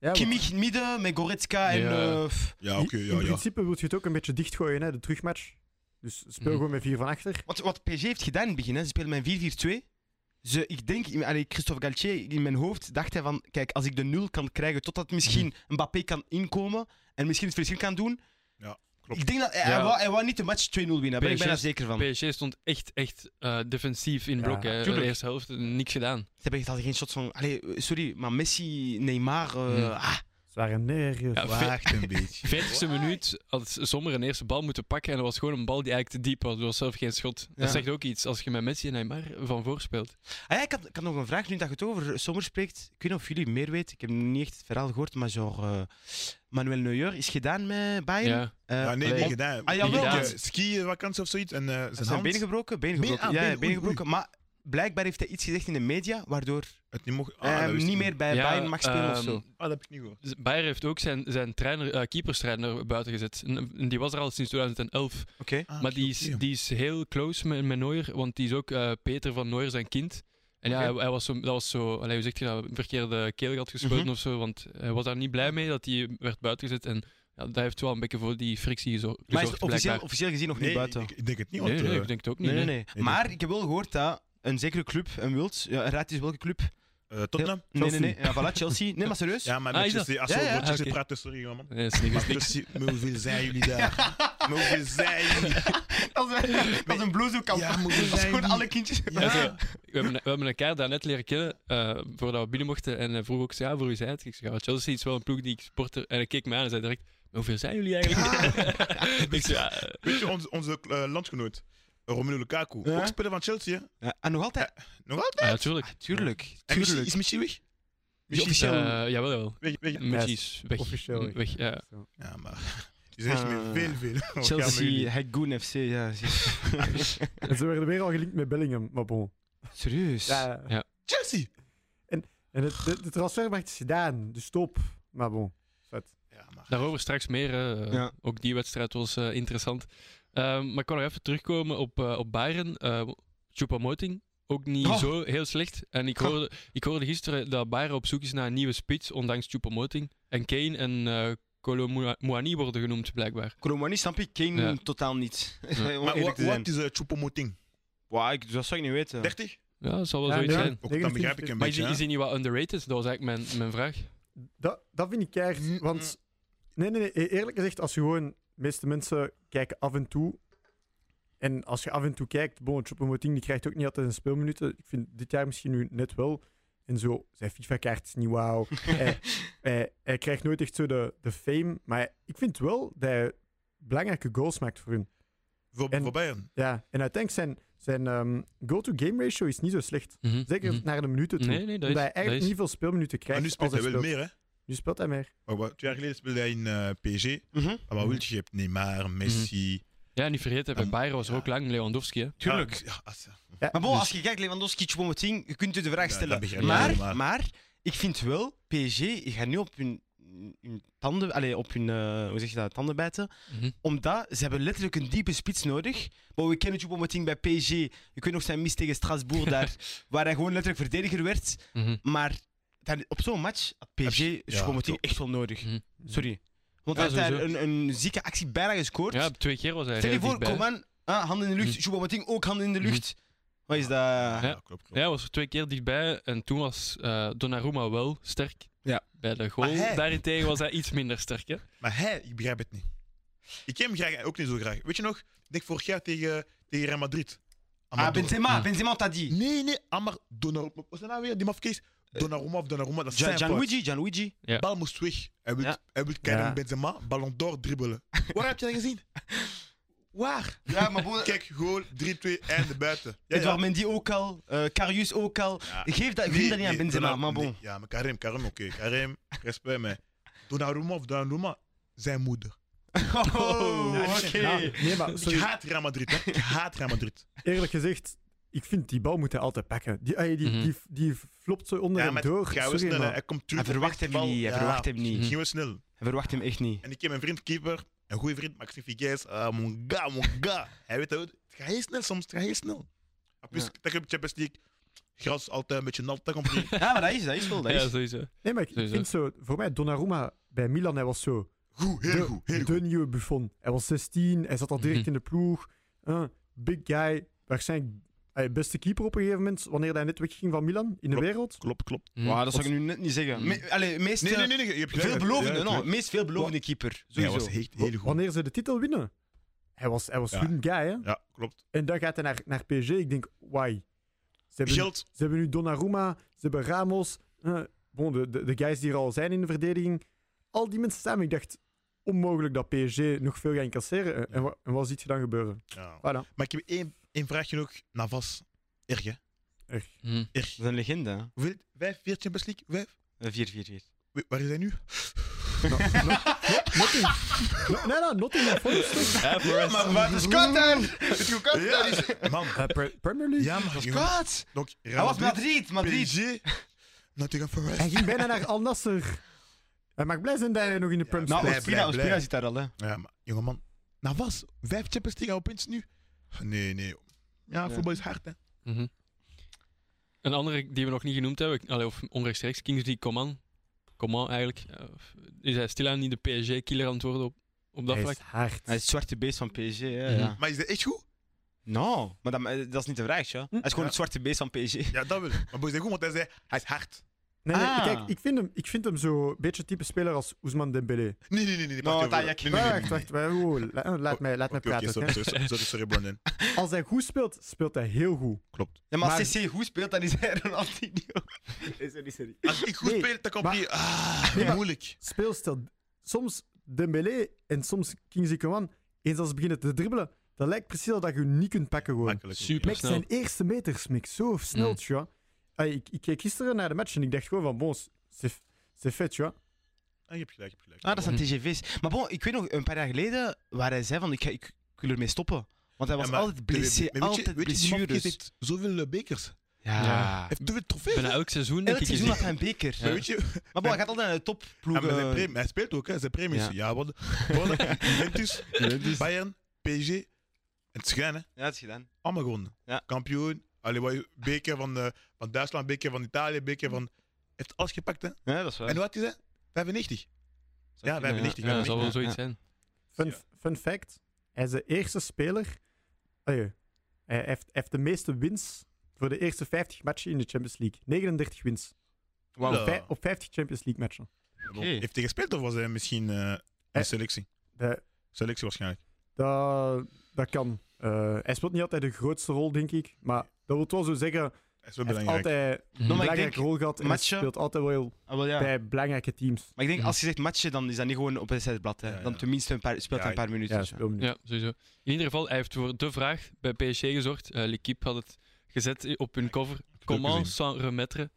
C: Ja, want
B: Kimmich midden met Goretzka en...
A: Ja.
B: eh, pff.
D: Ja, oké,
C: in-
D: ja,
C: in
D: ja.
C: principe wil je het ook een beetje dichtgooien, hè, de terugmatch. Dus speel
A: Mhm.
C: gewoon met vier van achter.
B: wat, wat PSG heeft gedaan in het begin, hè. ze speelden met 4-4-2. Ze, ik denk, in- allee, Christophe Galtier, in mijn hoofd dacht hij van, kijk, als ik de nul kan krijgen totdat misschien
D: Mhm.
B: Mbappé kan inkomen en misschien het verschil kan doen.
D: Ja, klopt.
B: Ik denk dat hij,
A: Ja.
B: hij, wou, hij wou niet de match 2-0 winnen, daar ben ik
A: PSG
B: bijna zeker van.
A: PSG stond echt, echt eh, defensief in
C: Ja,
A: blok. hè. de
B: tuurlijk.
A: eerste helft, eh, niks gedaan.
B: Ze hebben echt al geen shots van. Allee, eh, sorry, maar Messi, Neymar. eh,
A: Hmm.
B: ah,
C: Ze waren nergens.
A: Ja, ve-
D: Wacht een beetje.
A: 40ste minuut had Sommer een eerste bal moeten pakken en dat was gewoon een bal die eigenlijk te diep was. Er was zelf geen schot.
B: Ja.
A: Dat zegt ook iets als je met Messi en Neymar van voor speelt.
B: Ah ja, ik, had, ik had nog een vraag nu dat je het over Sommer spreekt. Ik weet niet of jullie meer weten. Ik heb niet echt het verhaal gehoord, maar zo. eh, Manuel Neuer is gedaan met Bayern.
A: Ja.
B: Eh,
D: Ja, nee,
B: om-
D: niet gedaan.
B: Ah, jawel.
D: Niet gedaan.
A: Ja.
D: Skiën, vakantie of zoiets. En eh, zijn,
B: zijn
D: hand,
B: benen gebroken? Benen
D: Been-
B: gebroken.
D: ah,
B: ja,
D: been,
B: ja, benen
D: oei, oei.
B: gebroken. Maar blijkbaar heeft hij iets gezegd in de media, waardoor
D: het niet mocht...
B: hij
D: ah, dat
B: hem
D: wist
B: Eh, niet
D: ik
B: meer bij
A: Ja,
B: Bayern mag spelen of
A: ehm,
B: zo.
D: Ah, dat heb ik niet gehoord.
A: Z- Bayer heeft ook zijn, zijn trainer, eh, keeperstrainer buiten gezet. En, en die was er al sinds 2011.
B: Oké.
D: Ah,
A: maar die
D: oké,
A: is,
D: oké.
A: die is heel close met, met Neuer, want die is ook eh, Peter van Neuer zijn kind. En ja,
B: Oké.
A: hij, hij was zo, dat was zo, allee, hoe zeg je dat, een verkeerde keel had geschoten
B: Mhm.
A: of zo, want hij was daar niet blij mee dat hij werd buitengezet. En ja, dat heeft wel een beetje voor die frictie gezo- gezorgd,
B: Maar hij is officieel,
A: blijkbaar.
B: officieel gezien nog
D: Nee,
B: niet buiten.
D: Ik, ik denk het niet, want...
A: Nee, nee,
D: eh,
A: ik denk het ook niet.
B: nee, nee,
A: nee.
B: nee.
D: nee.
B: Maar ik heb wel gehoord dat een zekere club, een Wild, ja, raad eens welke club.
D: eh, Tottenham?
B: Nee, nee, nee. Ja, voilà, Chelsea. Nee, maar serieus.
D: Ja, maar
A: Ah, is
D: Manchester... Als we
B: Ja,
D: over
B: ja.
D: Manchester
A: Ah, oké.
D: praten, sorry, man.
A: Nee, dat is niks.
D: Maar Manchester- Maar hoeveel zijn jullie daar? Maar hoeveel zijn jullie?
B: Dat is, dat is een bloezoekamp.
D: Ja, moet je
B: dat is
D: zijn
B: gewoon
D: die-
B: alle kindjes.
D: Ja.
A: Oké. We hebben, we hebben elkaar daarnet leren kennen, eh, voordat we binnen mochten. En hij vroeg ook, ja, voor wie zei het? Ik zei, ja, Chelsea is wel een ploeg die ik sporter. En hij keek me aan en zei direct, "Maar hoeveel zijn jullie eigenlijk? ik zei, ja, eh,
D: Weet je, onze, onze eh, landgenoot, Romelu Lukaku,
B: Ja?
D: ook speler van Chelsea, hè?
B: Ja, en nog altijd.
D: Nog altijd?
A: ja, natuurlijk.
B: Tuurlijk.
D: En Michi-
B: tuurlijk.
D: is Michi weg?
B: Die
D: Michi is,
B: officieel- Oh,
A: Eh
D: eh,
A: jawel, jawel.
D: weg, weg.
A: Messi is weg.
C: officieel weg.
A: weg ja.
C: Zo.
D: Ja, maar... Die zijn echt
B: Ah.
D: met veel, veel. Wat gaan we
B: Chelsea,
D: jullie?
B: Hagoon FC. Ja, zie-
C: En ze werden weer al gelinkt met Bellingham, maar bon.
B: serieus.
C: Ja,
D: Chelsea!
C: en het, de, de transfermarkt is gedaan, dus stop. Maar bon.
D: Ja, maar...
A: Daarover straks meer. eh,
B: Ja.
A: Ook die wedstrijd was eh, interessant. Ehm, maar ik kan nog even terugkomen op, eh op Bayern. Eh Choupo-Moting, ook niet
B: Oh.
A: zo heel slecht. En ik
B: Goh.
A: hoorde, ik hoorde gisteren dat Bayern op zoek is naar een nieuwe spits, ondanks Choupo-Moting. En Kane en eh Kolo-Muani worden genoemd, blijkbaar.
B: Colomani snap ik Kane
A: Ja.
B: totaal niet.
A: Ja.
B: Om
D: Maar wat,
B: eerlijk te zijn.
D: wat is eh, Choupo-Moting?
B: Wauw, ik, dat zou ik niet weten.
D: 30?
A: Ja, dat zal wel
C: Ja,
A: zoiets
C: ja.
A: zijn.
D: Ook, dan begrijp ik een
A: Maar is,
D: beetje,
A: die-
D: hè.
A: is hij niet wat underrated? Dat was eigenlijk mijn, mijn vraag.
C: Dat, dat vind ik keihard,
D: Mm,
C: want... Nee, nee, nee, e- eerlijk gezegd, als je gewoon... De meeste mensen kijken af en toe. En als je af en toe kijkt, bon, Choupo-Moting die krijgt ook niet altijd een speelminuten. Ik vind dit jaar misschien nu net wel. En zo, zijn FIFA-kaart is niet wauw. hij, hij, hij krijgt nooit echt zo de, de fame. Maar ik vind wel dat hij belangrijke goals maakt voor hun.
D: Voor,
C: En-
D: voor Bayern.
C: Ja, en uiteindelijk zijn, zijn ehm, go-to-game ratio is niet zo slecht.
A: Mhm,
C: Zeker
A: mhm.
C: naar de minuten toe.
A: Nee, nee, dat is...
C: omdat hij
A: Dat
C: eigenlijk
A: is
C: niet veel speelminuten krijgt.
D: Maar nu speelt
C: als
D: hij wel meer, hè?
C: Nu speelt hij meer.
D: Maar wat- Twee jaar geleden speelde hij in eh, PSG.
B: Mhm.
D: Maar wat wil je? Je hebt Neymar, Messi... Ah,
A: ja, niet vergeten, bij
D: Ja.
A: Bayern was er ook lang Lewandowski. Hè?
B: Tuurlijk.
D: Ja, ah, ja, als-
B: Maar bon,
A: Dus-
B: als je kijkt, Lewandowski, Choupo-Moting, je kunt u de vraag
D: Ja,
B: stellen.
D: dat begrijp
A: ik
B: maar,
D: helemaal.
B: maar, ik vind wel, PSG, ik ga nu op hun, hun tanden, allez, op hun, eh, hoe zeg je dat, tanden bijten.
A: Mhm.
B: Omdat ze hebben letterlijk een diepe spits nodig. Maar we kennen Choupo-Moting bij PSG. Je kunt nog zijn mis tegen Strasbourg daar, waar hij gewoon letterlijk verdediger werd.
A: Mhm.
B: Maar dan, op zo'n match had
D: Heb
B: PSG
D: je- ja,
B: Choupo-Moting
D: klopt.
B: echt wel nodig.
A: Mhm.
B: Sorry. Want
A: Ja,
B: hij heeft daar
A: sowieso.
B: een, een zieke actie bijna gescoord.
A: Ja, twee keer was hij
B: Stel je
A: heel
B: voor,
A: dichtbij.
B: Coman, ah, handen in de lucht.
A: Hm.
B: Choupo-Moting ook handen in de lucht. Wat is dat?
D: Ja, klopt, klopt.
A: Mhm. Ja, hij was er twee keer dichtbij en toen was eh, Donnarumma wel sterk.
B: Ja.
A: Bij de goal.
D: Maar hij-
A: Daarentegen was hij iets minder sterk. Hè?
D: Maar hij, ik begrijp het niet. Ik ken hem graag, ook niet zo graag. Weet je nog? Ik denk vorig jaar tegen, tegen Real Madrid.
B: Ah,
D: Amadou-
B: Benzema,
A: Ja.
B: Benzema had dat die.
D: Nee, nee, Amar Donnarumma. Wat is dat nou weer? Die mafkees. Donnarumma of Donnarumma, dat is
B: Gian-
D: zijn fout.
B: Gianluigi, Gianluigi.
A: Ja.
D: Bal moest weg. Hij wil,
B: Ja.
D: hij wil Karim
C: Ja.
D: Benzema, Ballon d'Or dribbelen. Waar heb je dat gezien? Waar?
B: Ja, maar bon,
D: Kijk, goal, 3-2, einde buiten. Ja,
B: Edouard Mendy ook al, eh, Karius ook al.
D: Ja.
B: Geef dat, geef dat niet aan Benzema,
D: Donnarumma-
B: maar bon.
D: nee, ja, maar Karim, Karim, oké. Karim, respect, maar Donnarumma of Donnarumma, zijn moeder.
B: Oh,
D: Ja,
B: oké.
C: Ja, nee, maar
D: Ik
C: sorry,
D: haat Real Madrid, hè. Ik haat Real Madrid.
C: eerlijk gezegd, ik vind die bal moet hij altijd pakken. Die, ey, die,
A: Mhm.
C: die, die flopt zo onder
D: Ja,
C: hem
D: maar
C: door.
D: Ga we
C: Sorry,
D: snel, hè.
C: maar-
D: Hij komt terug.
B: Hij
D: op
B: verwacht
D: echt
B: hem
D: bal.
B: niet, hij
D: Ja.
B: verwacht hem niet.
A: Mhm.
D: Gingen we snel.
B: Hij verwacht hem echt niet.
D: En ik heb mijn vriend keeper, een goede vriend, Maxime Figuez. Ah, mon gars, mon gars. Hij weet dat. Het gaat heel snel soms, het gaat heel snel. En plus,
B: Ja.
D: dat heb Champions League. Gras altijd een beetje nat, dat komt niet.
B: Ja, maar dat is, dat is wel, dat
A: Ja,
B: is.
A: sowieso.
C: Nee, maar ik, ik
A: Sowieso.
C: vind zo, voor mij Donnarumma bij Milan, hij was zo
D: Goed, heel
C: de,
D: goed, heel goed.
C: de nieuwe Buffon. Hij was 16, hij zat al direct
A: Mhm.
C: in de ploeg. Eh, big guy, waarschijnlijk eh, beste keeper op een gegeven moment, wanneer hij net wegging van Milan in de
D: Klopt.
C: wereld.
D: Klopt, klopt.
A: Mhm.
B: Wauw, dat zou ik nu net niet zeggen. Me, allee, meest eh,
D: Nee, nee, nee, nee, je hebt gelijk.
B: veelbelovende,
D: Ja,
B: no,
D: klopt.
B: meest veelbelovende keeper.
D: Ja, hij
B: Sowieso.
D: was echt heel goed.
C: Wanneer ze de titel winnen. Hij was, hij was
D: Ja.
C: hun guy, hè.
D: Ja, klopt.
C: En dan gaat hij naar, naar PSG. Ik denk, why? Ze hebben,
D: Geld,
C: ze hebben nu Donnarumma, ze hebben Ramos. eh, bon, de, de, de guys die er al zijn in de verdediging. Al die mensen samen. Ik dacht, onmogelijk dat PSG nog veel gaat incasseren. En, en, wa- en wat ziet je dan gebeuren?
D: Ja.
C: Voilà.
D: Maar ik heb één, één vraagje nog. Navas. Erg, hè?
A: Mhm.
D: Erg.
B: Dat is een legende. hè. Eh,
D: Hoeveel? Vijf, vier Champions League? Vijf?
B: Een 4-4-4.
D: Wa- Waar is hij nu?
C: No, no, no- nothing. No, nee, nee, Nottingham Forest. toch?
A: Ja, Forest.
B: Maar wat is Qatar? Het is Qatar.
D: Ja,
B: is-
D: man.
C: Eh, pre- Premier League.
D: Ja, maar... jongen,
B: Kwaad.
D: Donc,
B: Hij
D: Real
B: was
D: Madrid,
B: Madrid, Madrid.
D: PSG, Nottingham Forest.
C: Hij ging bijna naar Al Nasser. Hij mag blij zijn dat hij nog in de
D: Ja,
C: Premier
D: nou,
B: Nou,
D: Blij,
B: Ospina,
D: blij,
B: Ospina
D: blij.
B: zit daar al, hè.
D: Ja, maar jongeman. Navas, vijf Champions League en opeens nu? Nee, nee. Ja, voetbal is hard, hè.
A: Mhm. Een andere die we nog niet genoemd hebben, ik- allee, of onrechtstreeks, Kingsley Coman. Coman eigenlijk. eh, is hij stilaan niet de PSG-killer aan het worden op, op dat
C: Hij
A: vlak?
C: is hard.
B: Hij is het zwarte beest van PSG, hè.
A: Mhm.
B: Ja.
D: Maar is dat echt goed?
B: Nou, maar dat, maar dat is niet de vraag, ja. Hij is gewoon
D: Ja.
B: het zwarte beest van PSG.
D: Ja, dat wil ik. Maar boy, is dat goed? Want hij zei, hij is hard.
C: Nee, nee,
B: Ah.
C: kijk, ik vind hem, ik vind hem zo'n beetje type speler als Ousmane Dembélé.
D: Nee, nee, nee. nee, nee
B: Nou,
D: wacht
B: dat
D: even.
B: ik-
D: Nee, nee, nee, nee,
C: Wacht,
D: nee.
C: wacht, wacht, wow, la- eh, laat mij, laat mij
D: Oké, oké,
C: praten.
D: sorry,
C: hè.
D: sorry, sorry, sorry, sorry, Brandon.
C: Als hij goed speelt, speelt hij heel goed.
D: Klopt.
B: Ja, maar,
C: Maar-
B: als CC goed speelt, dan is hij Ronaldinho. Nee, sorry, sorry.
D: Als ik goed
C: Nee,
D: speel, dan komt
C: maar-
D: hij... Ah,
C: Nee, maar-
D: moeilijk.
C: Speelstijl. Soms Dembélé en soms Kingsley Coman, eens als ze beginnen te dribbelen, dat lijkt precies al dat je hem niet kunt pakken gewoon.
D: Makkelijk.
A: Super
C: Mik
A: snel.
C: zijn eerste meters, Mik, zo snel,
A: Mm.
C: tja. Ey, Ik, ik keek gisteren naar de match en ik dacht gewoon van, bon, c'est c'est fait, tja.
D: Ah, je hebt gelijk, je hebt gelijk.
B: Ah, dat zijn
A: Mhm.
B: TGV's. Maar bon, ik weet nog, een paar jaar geleden, waar hij zei van, ik, ga, ik, ik wil ermee stoppen. Want hij was
D: Ja, maar-
B: altijd,
D: Maar
B: blessé,
D: weet je-
B: altijd
D: weet je, Mopkins
B: blessures.
D: heeft zoveel eh, bekers. Hij
B: ja.
A: Ja.
D: heeft te veel trofees.
A: Bijna
D: hè.
A: elk seizoen denk
B: Elk
A: ik. is
B: seizoen
A: hij-
B: had hij een beker.
D: Maar Weet je,
B: Maar bon, hij gaat altijd naar de
D: Ah, maar
B: topploegen.
D: zijn premie- hij speelt ook, hè. zijn premies.
B: Ja.
D: Ja, wat, wat Juventus, Bayern, PSG. En het schijn, hè.
B: Ja, dat is gedaan.
D: Allemaal gewonnen.
B: Ja.
D: Kampioen, allee, wat, beker van, eh, van Duitsland, beker van Italië, beker van... heeft alles gepakt, hè.
B: Ja, dat is waar.
D: En wat is hij? 95. Ja,
B: kunnen,
D: 95.
A: Ja, dat zal wel
D: 95.
A: zoiets zijn.
C: Fun,
D: Ja.
C: fun fact: hij is de eerste speler. Allee, hij heeft, heeft de meeste wins voor de eerste 50 matchen in de Champions League. 39 wins.
B: Wauw.
D: Ja.
C: Op, vij- op 50 Champions League matchen.
D: Heeft hij gespeeld of was hij misschien eh,
C: Eh.
D: een selectie?
C: Dat,
D: Selectie waarschijnlijk.
C: dat, dat kan. Eh, hij speelt niet altijd de grootste rol, denk ik. Maar dat wil wel zo zeggen: hij
D: Dat is wel
C: heeft
D: belangrijk.
C: altijd een
B: Nou, maar ik
C: belangrijke
B: denk,
C: rol gehad. En hij
B: matchen-
C: speelt altijd wel
B: Ah, wel, ja.
C: bij belangrijke teams.
B: Maar ik denk,
A: Mhm.
B: als je zegt matchen, dan is dat niet gewoon op een setblad. Hè.
D: Ja, ja.
B: Dan tenminste een paar, speelt
D: Ja,
B: hij een paar minuten.
C: Ja,
B: dus, ja.
C: speelminuten.
A: Ja, sowieso. In ieder geval, hij heeft voor de vraag bij PSG gezorgd. Eh L'Equipe had het gezet op hun cover. Comment
D: gezien.
A: sans remettre.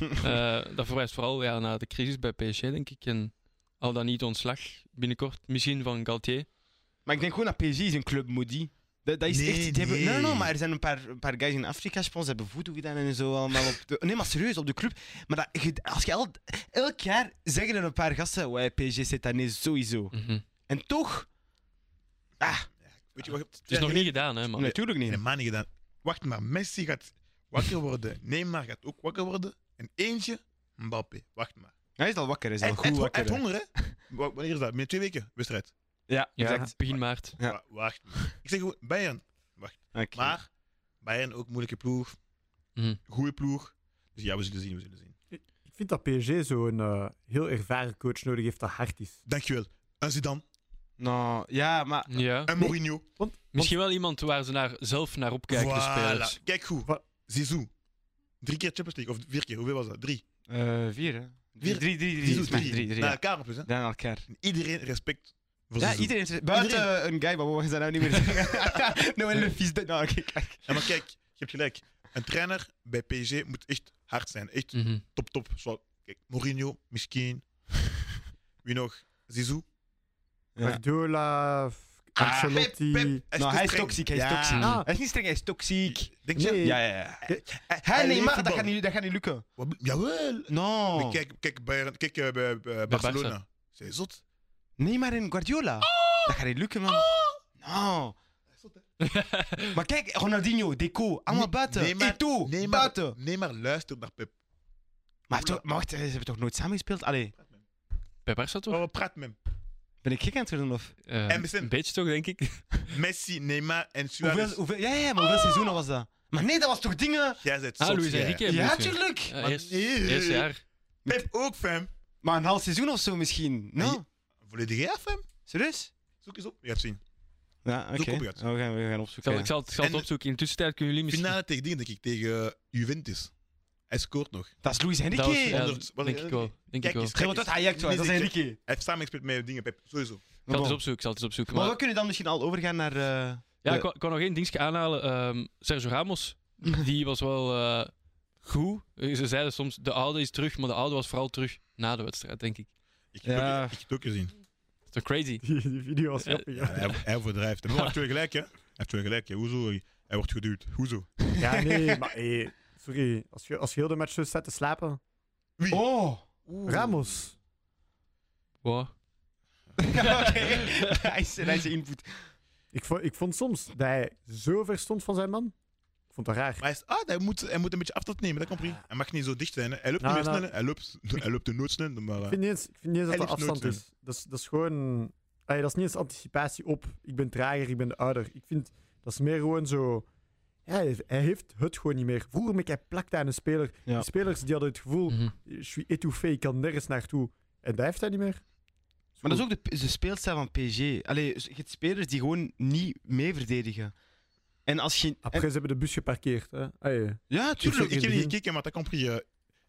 A: Eh, dat verwijst vooral ja, naar de crisis bij PSG, denk ik. En al dan niet ontslag binnenkort. Misschien van Galtier.
B: Maar ik denk gewoon dat PSG is een club Moody. Dat, dat is
D: Nee,
B: echt, die hebben, nee, nee,
D: nee.
B: nee, maar er zijn een paar, een paar guys in Afrika, je pense, hebben voodoo gedaan en zo allemaal. Op de, nee, maar serieus, op de club. Maar dat, je- als je el, elk jaar zeggen er een paar gasten, ouais, PSG zit daar niet sowieso. En toch,
D: Weet je wat? Het
A: Het is nog niet gedaan, hè, man.
B: nee, natuurlijk niet.
D: helemaal niet gedaan. Wacht maar, Messi gaat wakker worden. Neymar gaat ook wakker worden. En eentje, Mbappé. Wacht maar.
B: Hij is al wakker, hij is al
D: Hij
B: goed
D: hij- hij
B: wakker.
D: heeft
B: hè.
D: honger, hè? Wa- Wanneer is dat? Binnen twee weken wedstrijd.
B: Ja,
A: Ja,
B: exact.
A: begin maart.
B: Ja.
D: Wa- Wacht maar. Ik zeg gewoon, Bayern.
B: Oké.
D: Maar Bayern ook moeilijke ploeg.
A: Mhm.
B: Mm.
D: Goede ploeg. Dus ja, we zullen zien, we zullen zien.
C: Ik vind dat PSG zo'n eh, heel ervaren coach nodig heeft dat hard is.
D: Dankjewel. Een Zidane,
B: Nou, ja, maar...
A: Ja.
D: een Mourinho.
A: Misschien wel iemand waar ze naar, zelf naar opkijken, de
D: Voilà.
A: spelers.
D: Kijk goed.
C: Wa-
D: Zizou. Drie keer Champions League. Of vier keer. Hoeveel was dat? Drie.
B: eh vier, hè? Drie,
D: Vier.
B: drie, drie. drie,
D: Zizou,
B: volgens mij. drie, drie,
D: Na
B: ja.
D: elkaar op eens, hè.
B: Dan aan elkaar.
D: Iedereen respect voor
B: Ja,
D: Zizou.
B: iedereen heeft... Buiten
D: Iedereen.
B: eh, een guy, maar we gaan dat nou niet meer zeggen. nou, en een vies... Nou, oké, kijk.
D: Ja, maar kijk, je hebt gelijk. Een trainer bij PSG moet echt hard zijn. Echt
A: Mhm.
D: top, top. Zoals, kijk, Mourinho, misschien. Wie nog? Zizou.
C: Guardiola,
B: Ah,
C: Ancelotti.
D: Pep, Pep.
B: Nou, hij is
D: streng.
B: toxiek, hij is
D: Ja.
B: toxiek.
C: Ah.
B: Hij is niet streng, hij is toxiek.
D: Denk je?
C: Nee.
B: Ja, ja, ja.
D: Hij-
B: Hij,
D: hij
B: nee,
D: leeft
B: maar dat
D: voetbal.
B: gaat, niet, dat gaat niet lukken.
D: Wat- Jawel.
A: Oh.
B: No.
D: Kijk, kijk, Bayern, kijk eh, bij- bij Barcelona. Zij is zot.
B: Nee, maar in Guardiola. Dat gaat niet lukken, man. No. Maar kijk, Ronaldinho, Deco, allemaal
D: Nee,
B: buiten.
D: nee, maar-
B: Eto'o,
D: nee, maar-
B: buiten.
D: Nee, maar luister naar Pep.
B: Maar, toch, maar wacht, eh, ze hebben toch nooit samen gespeeld? Allee,
A: Bij Barca toch?
D: Oh, praat met hem.
B: ben ik gek aan het doen of?
A: Eh,
D: MSN.
A: een beetje toch, denk ik.
D: Messi, Neymar en
B: Hoeveel,
D: Suarez.
B: hoeveel, ja, ja, maar hoeveel seizoenen was dat? Maar nee, dat was toch dingen?
D: Jij bent
A: Ah,
D: zot,
A: Luis
D: jij.
A: Enrique.
B: Ja,
A: bedoelt je?
B: tuurlijk.
A: Ja,
D: Maar
A: eerst,
D: nee.
A: eerst jaar.
D: Pep ook, fam.
B: Maar een half seizoen of zo misschien.
D: Ja,
B: No?
D: je- Volledig ja, fam.
B: Serieus?
D: Zoek eens op. Je hebt zien.
B: Ja, oké. Oh,
D: Zoek op,
B: we,
D: Gert.
B: gaan, we gaan
A: Ik
B: opzoeken.
A: zal, ik zal, het- ik zal het
D: En-
A: opzoeken. In de tussentijd kunnen jullie misschien...
D: Finale tegen dingen, denk ik, tegen eh, Juventus. Hij scoort nog.
B: Dat is Luis
A: Dat
B: Enrique.
A: was-
B: Zeg,
A: ja,
D: Honderd- wat-
A: denk ik wel. Denk ik
D: Kijk
A: wel.
D: eens,
A: Ik
D: kijk
B: want dat
D: eens.
B: Ajax was, dat is
D: Nee,
B: Enrique.
D: Hij heeft samengespeeld met dingen, Pep. Sowieso.
A: zal het
B: Bon.
A: eens opzoeken. Ik zal het eens opzoeken.
B: Maar
A: Maar,
B: we kunnen dan misschien al overgaan naar... eh,
A: ja, ik wou- ik kan nog één dingetje aanhalen. Ehm, Sergio Ramos, die was wel eh, goed. Eh, Ze zeiden soms, de oude is terug, maar de oude was vooral terug na de wedstrijd, denk ik.
D: Ik heb
B: Ja.
D: het ook- ik heb het ook gezien.
A: Dat is toch crazy?
C: Die, die video was
A: Eh,
C: grappig.
D: Ja,
C: Ja,
D: hij, hij overdrijft. Maar hij heeft wel gelijk, hè. Hij heeft wel gelijk, hè. Hoezo? Hij wordt geduwd. Hoezo?
C: ja nee, maar hey, sorry. Als je, als je heel de match zo staat te slapen.
D: Wie?
B: Oh!
C: Ramos.
A: Wow.
B: Oké, nice, nice input.
C: Ik vond, ik vond soms dat hij zo ver stond van zijn man. Ik vond dat raar.
D: Maar hij, is, ah, hij, moet, hij moet een beetje afstand nemen, dat komt prima. Hij mag niet zo dicht zijn. Hè. Hij loopt
C: Nou,
D: niet meer
C: nou.
D: sneller, hij loopt, hij loopt de nood sneller. Maar,
C: Ik
D: eh,
C: vind niet eens, ik vind niet eens dat
D: Hij
C: dat
D: liep nooit
C: afstand is. Dat is, dat is gewoon... Allee, dat is niet eens anticipatie op ik ben trager, ik ben de ouder. Ik vind, dat is meer gewoon zo... Ja, hij heeft- hij heeft het gewoon niet meer. Vroeger met hij plakte aan een speler.
B: Ja.
C: Die spelers die hadden het gevoel, "Eh,
A: Mhm.
C: je suis étouffé, ik kan nergens naartoe. En dat heeft hij niet meer.
B: Maar dat is ook de, de speelstijl van PSG. Allee, je hebt spelers die gewoon niet mee verdedigen. En als je... en-
C: Après, ze hebben de bus geparkeerd. Hè. Allee.
B: ja,
D: tuurlijk,
B: tuurlijk.
D: ik heb
C: begin.
D: niet gekeken, maar dat komt prima. Eh,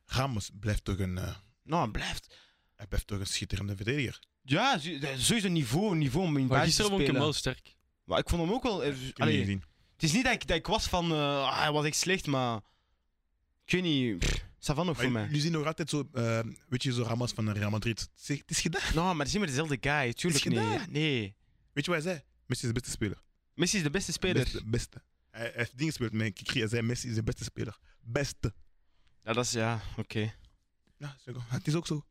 D: Ramos blijft toch, een, eh,
B: Nou, blijft...
D: hij blijft toch een schitterende verdediger.
B: Ja, zo- dat is sowieso niveau, niveau om in
A: Maar
B: basis te
A: gisteren vond ik hem
B: spelen.
A: wel sterk.
B: Maar ik vond hem ook wel... eh,
D: Ik heb
B: allee,
D: niet gezien.
B: het is niet dat ik, dat ik was van... eh, ah, hij was echt slecht, maar... Ik weet niet... pff, Ça va nog
D: Maar
B: voor mij.
D: jullie zien nog altijd zo, eh, weet je, zo Ramos van Real Madrid. Zeg, het is gedaan.
B: Nou, maar het is niet meer dezelfde guy. Tuurlijk
D: Is
B: niet.
D: gedaan.
B: Ja, nee.
D: Weet je wat hij zei? Messi is de beste speler.
B: Messi is de beste speler.
D: Beste, beste. Hij hij heeft dingen gespeeld, maar Kikri, hij zei Messi is de beste speler. Beste.
B: Ja, dat is... Ja, oké.
D: Ja, zo- het is ook zo.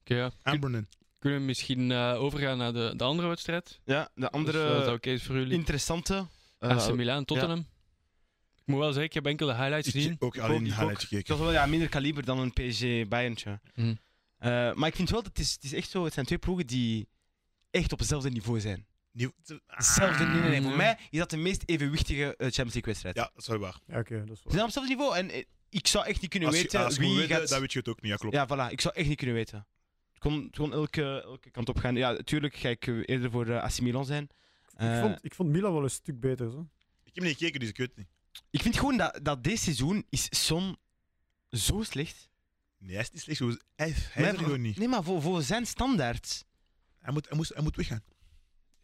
A: Oké, ja.
D: En Ah, Brunnen.
A: Kunnen we misschien eh, overgaan naar de, de andere wedstrijd?
B: Ja, de andere
A: Dus, eh, dat oké is voor jullie. Ah,
B: interessante... eh,
A: AC Milan, Tottenham. Ik moet wel zeggen, ik heb enkele highlights gezien.
D: Ik ook
B: ook,
D: alleen een
B: ik
D: highlight
B: ook.
D: gekeken.
B: Het was wel ja, minder kaliber dan een PSG Bayerntje.
A: Mhm.
B: Eh, maar ik vind wel dat het, is, het is echt zo, het zijn twee ploegen die echt op hetzelfde niveau zijn.
D: Nieuw-
B: Hetzelfde nee, nee, nee. Voor
A: Ja.
B: mij is dat de meest evenwichtige eh, Champions League wedstrijd.
D: Ja, dat is wel waar.
C: Ja, oké, dat is
B: Ze
C: wel...
B: zijn op hetzelfde niveau en eh, ik zou echt niet kunnen
D: Als je,
B: weten
D: als je
B: wie
D: moet weten,
B: gaat...
D: dan weet je het ook niet. Ja, klopt.
B: Ja, voilà. Ik zou echt niet kunnen weten. Het kon, het kon elke, elke kant op gaan. Ja, tuurlijk ga ik eh, eerder voor eh, AC Milan zijn. Eh,
C: Ik, vond, ik vond Milan wel een stuk beter. Zo.
D: Ik heb niet gekeken, dus ik weet het niet.
B: ik vind gewoon dat, dat dit seizoen is Son zo slecht.
D: Nee, hij is niet slecht. Hij, is- hij is er
B: Maar-
D: gewoon niet.
B: Nee, maar voor, voor zijn standaard.
D: Hij moet, hij moest, hij moet weggaan.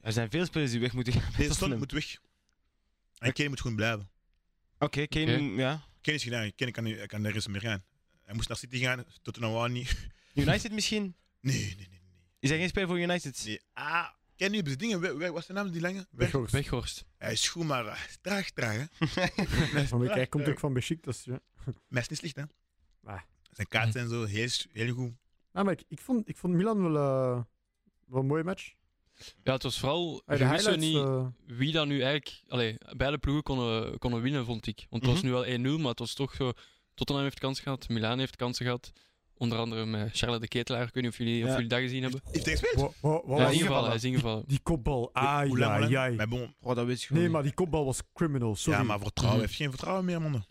B: Er zijn veel spelers die weg moeten gaan.
D: Deze
B: Tottenham.
D: stond moet weg. En Kane moet gewoon blijven.
B: Oké, Kane, ja.
D: Kane is gedaan. Kane Ah, kan, nu- kan nergens meer gaan. Hij moest naar City gaan. Tottenham wou niet.
B: United misschien?
D: Nee, nee, nee. nee,
B: Is hij geen speler voor United?
D: nee. Ah, Kane nu hebben ze dingen. Weg, weg, wat is zijn naam, die lange? Weg.
C: Weghorst.
A: Weghorst.
D: Hij is goed, maar eh, traag, traag. Hè?
C: Van Beek, hij komt ook van Besiktas. Ja.
D: Maar hij is niet slecht, hè?
C: Ah.
D: Zijn kaarten en zo, heel, heel goed.
C: Ah, maar ik, ik, vond, ik vond Milan wel, eh, wel een mooie match.
A: Ja, het was vooral...
C: Allee,
A: Je
C: de
A: wist zo
C: highlights...
A: niet
C: eh,
A: wie dan nu eigenlijk... Allee, beide ploegen konden, konden winnen, vond ik. Want het was
B: Mhm.
A: nu wel 1-0, maar het was toch zo... Tottenham heeft kansen gehad, Milan heeft kansen gehad. Onder andere met Charlotte de Ketelaar. Ik weet niet of jullie, of
B: Ja.
A: jullie dat gezien hebben.
D: Heeft hij gespeeld?
C: Wa- wa-
A: Ja,
C: wa- was-
A: hij is ingevallen,
B: ingevallen.
A: hij is ingevallen.
C: Die kopbal, ai,
D: Hoe lang, hoe
C: ai,
D: lang?
C: ai.
D: Maar bon,
B: Oh, dat weet ik gewoon
C: Nee,
B: niet.
C: maar die kopbal was criminal, sorry.
D: ja, maar vertrouwen.
A: Mhm.
D: Hij heeft geen vertrouwen meer, man.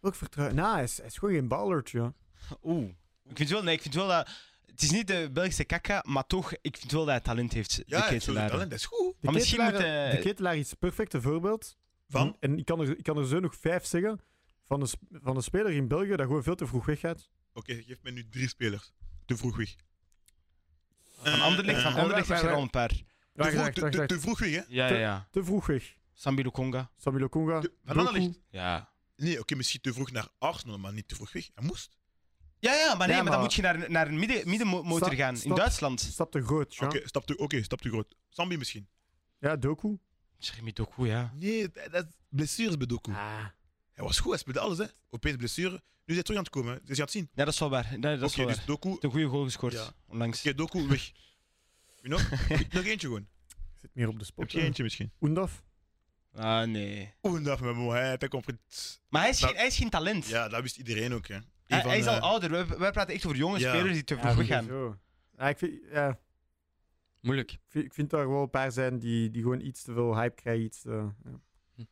C: Ook vertrouwen. Nou, hij is, hij is gewoon geen ballertje. ja.
B: Oeh. Ik vind wel, nee, ik vind wel dat... Het is niet de Belgische kakka, maar toch, ik vind wel dat hij talent heeft,
D: Ja, hij
B: de
D: heeft zo'n
B: ketelaar.
D: talent. Dat is goed.
C: De
B: Maar misschien moet
C: ketelaar-
B: hij-
C: De ketelaar is het perfecte voorbeeld.
D: Van?
C: En ik kan, er, ik kan er zo nog vijf zeggen van een, sp- van een speler in België dat gewoon veel te vroeg weggaat.
D: Oké, geef mij nu drie spelers. Te vroeg weg.
B: Van Anderlecht, van
D: Eh, eh,
B: Anderlecht
C: eh,
B: heeft er
C: eh,
B: al een paar.
D: Te
C: Wacht,
D: vroeg-
C: wacht,
D: te-
C: wacht, Ah,
D: te-
C: wacht.
D: te vroeg weg, hè?
B: Ja, ja, ja.
C: Te vroeg weg.
B: Sambi Lokonga.
C: Samuel Okonga.
D: Te- Van
C: Doku.
D: Anderlecht?
B: Ja.
D: Nee, oké, misschien te vroeg naar Arsenal, maar niet te vroeg weg. Hij moest.
B: Ja, ja, maar nee,
C: Ja,
B: maar dan
C: maar-
B: moet je naar, naar een midden, middenmotor
C: Sta-
B: gaan. In
C: stap-
B: Duitsland.
C: Stap te groot, ja.
D: Oké, stap te, oké, stap te groot. Sambi misschien.
C: Ja, Doku.
B: Zeg je ook goed, ja.
D: Nee, dat, dat is blessures bij
C: Ah.
D: Doku. Hij was goed, hij speelde alles. Hè. Opeens blessure. Nu is hij terug aan het komen. hè. Dus je gaat zien.
B: Ja, dat is wel waar. Nee, dat is
D: Oké,
B: wel
D: dus
B: waar.
D: Doku,
B: De goede goal gescoord,
D: Ja.
B: onlangs.
D: oké, Doku weg. You know? Nog eentje gewoon.
C: Zit meer op de spot.
D: Heb je
C: hè.
D: eentje misschien?
C: Oendaf.
B: Ah, nee.
D: Oeh, dat met Mohamed, hij komt het.
B: Maar hij is,
D: Dat-
B: geen, hij is geen talent.
D: Nou- Ja, dat wist iedereen ook. Hè. Een
B: hij,
D: van,
B: hij is al
D: eh,
B: ouder. Wij, wij praten echt over jonge
D: Ja.
B: spelers die te vroeg gaan.
C: sowieso. Ja, ik, vind, ja, ik
A: Moeilijk.
C: vind- ik vind daar wel een paar zijn die, die gewoon iets te veel hype krijgen. Iets te, ja.
D: ah, Doku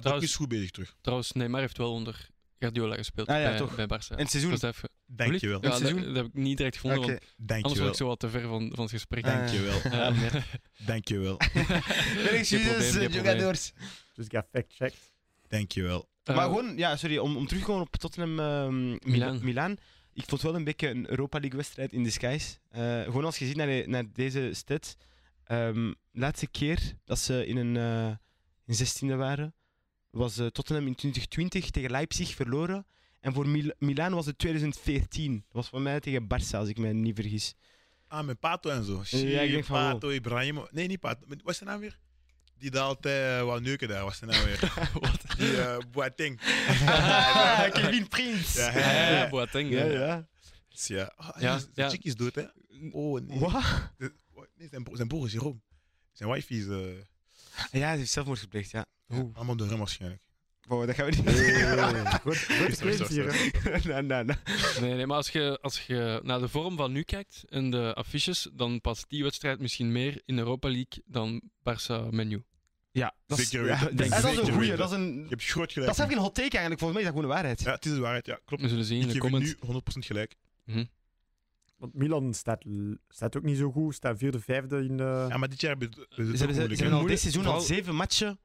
A: Trouwens-
D: is goed bezig terug.
A: Trouwens, Neymar heeft wel onder Guardiola gespeeld
B: Ah ja,
A: bij,
B: toch.
A: bij Barça.
B: In het seizoen.
A: Dat is even...
D: Dank je wel.
A: Ja,
B: Het
A: dat,
B: seizoen?
A: dat heb ik niet direct gevonden,
B: Oké.
A: want
D: Dank
A: anders was
D: je wel.
A: ik zo wat te ver van, van het gesprek.
B: Ah,
D: Dank je wel.
A: Ja.
D: Dank je wel.
B: Mijn excuses,
A: probleem, geen
B: jogadores.
C: Dus ik ga fact-checked.
D: Dank je wel.
A: Eh,
B: Maar gewoon, ja, sorry, om, om terug te komen op Tottenham ehm
A: Milaan.
B: Milan. Milaan. Ik vond wel een beetje een Europa League wedstrijd in the skies. Eh, gewoon als je ziet naar, de- naar deze stat. ehm, laatste keer dat ze in een eh, in 16e waren, was eh, Tottenham in 2020 tegen Leipzig verloren. En voor Mil- Milaan was het 2014. Dat was voor mij tegen Barça, als ik mij niet vergis.
D: Ah, met Pato en zo. Shit,
B: Ja, ik denk van wel.
D: Pato, Ibrahimo. Nee, niet Pato. Wat is zijn naam weer? Die daar altijd eh, wou neuken daar. Wat is zijn naam weer?
A: Wat?
D: Die eh, Boateng.
B: Ah, Kevin Prince!
D: Ja,
A: Ja, ja, ja, Boateng.
B: Ja,
A: ja.
B: ja.
D: Ja. Ah,
A: Ja,
D: de
A: ja.
D: chick is dood, hè? Oh, nee.
B: Wat?
D: Nee, zijn, bro- zijn broer is Jerome. Zijn wife is... eh,
B: Ja, hij heeft zelfmoord gepleegd, ja. Oeh.
D: allemaal door hem waarschijnlijk.
B: Oh, dat gaan we niet
C: Goed, goed
D: Sorry,
C: quiz
D: sorry,
C: hier. hè.
D: sorry.
B: nee, nee, nee.
A: Nee, nee, maar als je, als je naar de vorm van nu kijkt en de affiches, dan past die wedstrijd misschien meer in Europa League dan Barça menu.
B: Ja, dat is,
D: Zeker
B: ja,
D: weten.
B: denk,
D: Zeker
B: dat is een goeie.
D: weten.
B: Dat is, een,
D: Je hebt groot
B: dat is
D: gelijk.
B: eigenlijk een hot take eigenlijk. Volgens mij is dat gewoon de waarheid.
D: Ja, het is de waarheid. Ja, klopt.
A: We zullen zien
D: Ik
A: in de
D: geef je
A: comments.
D: nu 100% gelijk.
C: Want Milan staat, l- staat ook niet zo goed. Staat vierde, vijfde in eh, de...
D: Ja, maar dit jaar hebben we het
B: Ze
D: ook
B: hebben, ze- ze
D: moeilijk, hè.
B: hebben al dit
A: Moeilijk,
B: seizoen al
A: vooral-
B: zeven matchen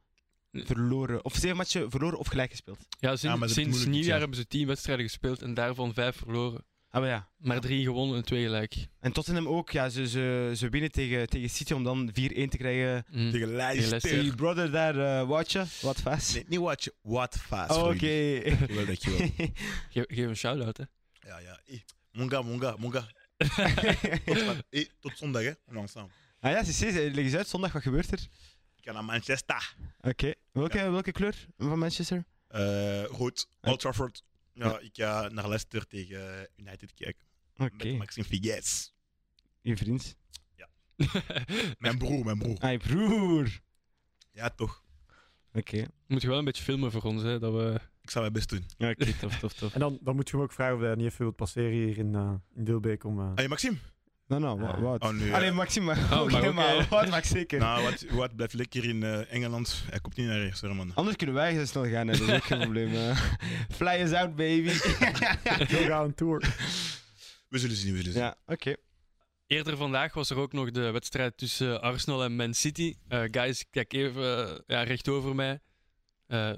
A: Nee.
B: verloren. Of zeven matchen verloren of gelijk gespeeld.
A: Ja, sinds,
D: Ja, maar dat is
A: sinds
D: moeilijk dit jaar.
A: nieuwjaar hebben ze tien wedstrijden gespeeld en daarvan vijf verloren.
B: Ah, maar ja.
A: Maar drie gewonnen en twee gelijk.
B: En Tottenham ook. Ja, ze, ze, ze winnen tegen, tegen City om dan 4-1 te krijgen.
A: Mm.
D: Tegen Leicester.
A: Leicester.
B: Die brother daar, eh watje. Wat vast.
D: Nee, niet watch. What fast.
B: Oh, Oké.
D: Rudy. Dankjewel, dankjewel.
A: Ge- geef een shout-out, hè.
D: Ja, ja. Eh, Monga, monga, monga. Eh, tot zondag, hè. On est ensemble.
B: ah ja, CC, leg eens uit. Zondag, wat gebeurt er?
D: Ik ga naar Manchester.
B: Oké. Welke, welke kleur van Manchester?
D: Eh rood, Old Trafford. Ja, ik ga naar Leicester tegen United kijken.
B: Oké.
D: Met Maxime Figueres.
B: Je vriend.
D: Mijn broer, mijn broer.
B: Ah, je broer.
D: Ja, toch.
B: Oké.
A: Moet je wel een beetje filmen voor ons, hè. Dat we...
D: Ik zal mijn best doen.
B: Oké, tof, tof, tof.
C: En dan, dan moet je hem ook vragen of hij niet even wilt passeren hier in, eh in Wilbeek om... eh,
D: Hey, Maxime.
B: Nou, nou, wa- wat?
D: Oh, nee. ja.
B: Allee, Maxime, maar,
A: maar
B: oké,
A: oké.
B: maar wat mag zeker.
D: Nou, wat, wat blijft lekker in eh, Engeland. Hij komt niet naar hier, sorry, man.
B: Anders kunnen wij zo snel gaan, hè. dat is ook geen probleem. hè. Fly us out, baby.
C: Yoga on tour.
D: We zullen zien, we zullen zien.
B: ja, oké.
A: Eerder vandaag was er ook nog de wedstrijd tussen Arsenal en Man City. Eh, guys, ik kijk even eh, ja, recht over mij. Eh,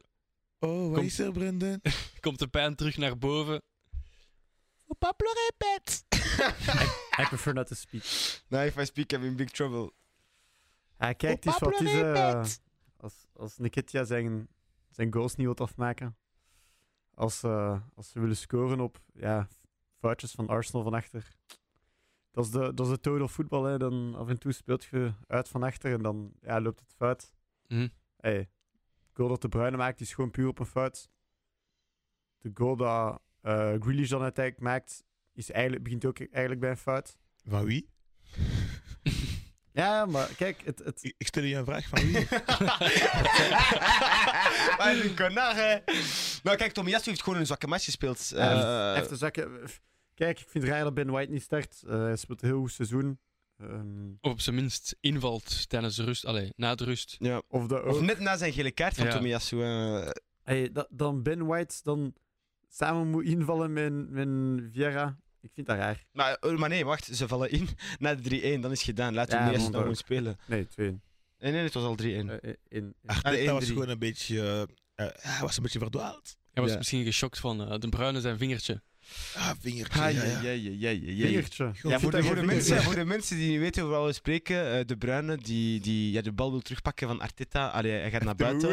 D: Oh,
A: Kom.
D: is er, Brendan?
A: komt de pijn terug naar boven.
B: Pablo Repet.
C: I prefer not to speak.
B: Nou, if I speak, I'm in big trouble.
C: Hij kijkt eens
B: Pablo
C: wat is... eh,
B: Lopez.
C: als, als Nikitia zijn, zijn goals niet wilt afmaken. Als, eh, als ze willen scoren op ja, foutjes van Arsenal van achter. Dat is de, dat is de total voetbal. Hè. Dan af en toe speelt je uit van achter en dan ja, loopt het fout.
A: Mhm.
C: Hey, de goal dat de Bruyne maakt is gewoon puur op een fout. De goal dat eh Grealish dan uiteindelijk maakt, is eigenlijk, begint ook eigenlijk bij een fout.
D: Van wie?
C: Ja, maar kijk, het, het,
D: Ik, ik stel je een vraag van wie?
B: Wat een connard, hè. Nou, kijk, Tomiyasu heeft gewoon een zwakke match gespeeld.
C: Ja, hij heeft-
B: Eh,
C: Even te zakken. Kijk, ik vind het raar dat Ben White niet start. Eh, hij speelt een heel goed seizoen. Ehm,
A: Of op zijn minst invalt tijdens de rust. Allee, na de rust.
B: ja.
C: of dat
B: Of
C: ook.
B: net na zijn gele kaart van
A: Ja.
B: Tomiyasu. eh,
C: Hey, dat, dan Ben White dan samen moet invallen met, met Vieira. Ik vind dat raar.
B: maar, eh, maar nee, wacht, ze vallen in na de 3-1, dan is het gedaan. Laat
C: Ja,
B: Tomiyasu
C: maar
B: nou gewoon
C: ook.
B: spelen.
C: Nee, twee.
B: Nee, nee, het was al 3-1.
C: Eh, in,
D: Arteta was
B: 1-3.
D: gewoon een beetje... eh, eh, hij was een beetje verdwaald.
A: Hij was
B: Ja.
A: misschien geschokt van eh, de bruine zijn vingertje.
D: Ah, vingertje.
B: Ah,
D: ja, ja.
C: vingertje.
B: Ja, voor,
C: Zit
B: de,
C: daar
B: voor, de
C: geen
B: mensen,
C: vinger
B: voor de mensen die niet weten hoe we spreken, eh, de Bruyne die, die ja, de bal wil terugpakken van Arteta. Allee, hij gaat naar buiten.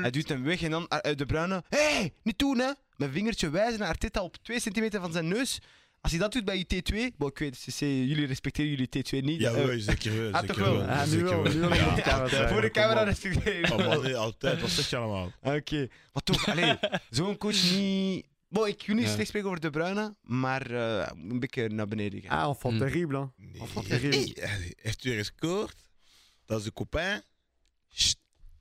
B: Hij duwt hem weg en eh, dan eh, de Bruyne. Hé, hey, niet doen hè! Mijn vingertje wijzen naar Arteta op 2 centimeter van zijn neus. Als je dat doet bij je T2, bon, ik weet, CC, jullie respecteren jullie T2 niet.
D: Ja,
B: eh,
D: wel, zeker wel.
B: ah,
D: zeker
B: toch wel.
D: wel,
C: Ah, nu
D: zeker
C: wel,
D: wel.
C: nu wel
D: Ja.
C: op de camera zijn,
B: voor de
C: kom
B: camera
C: op.
B: respecteren.
D: Oh, man, nee, altijd. Wat zeg je allemaal?
B: Oké, maar toch, allee, zo'n coach niet. Bon, ik wil niet
A: Ja.
B: slecht spreken over De Bruyne, maar eh, hij moet een beetje naar beneden gaan.
C: Ah, enfant
A: Hmm.
C: terrible. Hein.
D: Nee.
C: Of wat tegen-
D: Hey, hij heeft weer gescoord. Dat is de copain.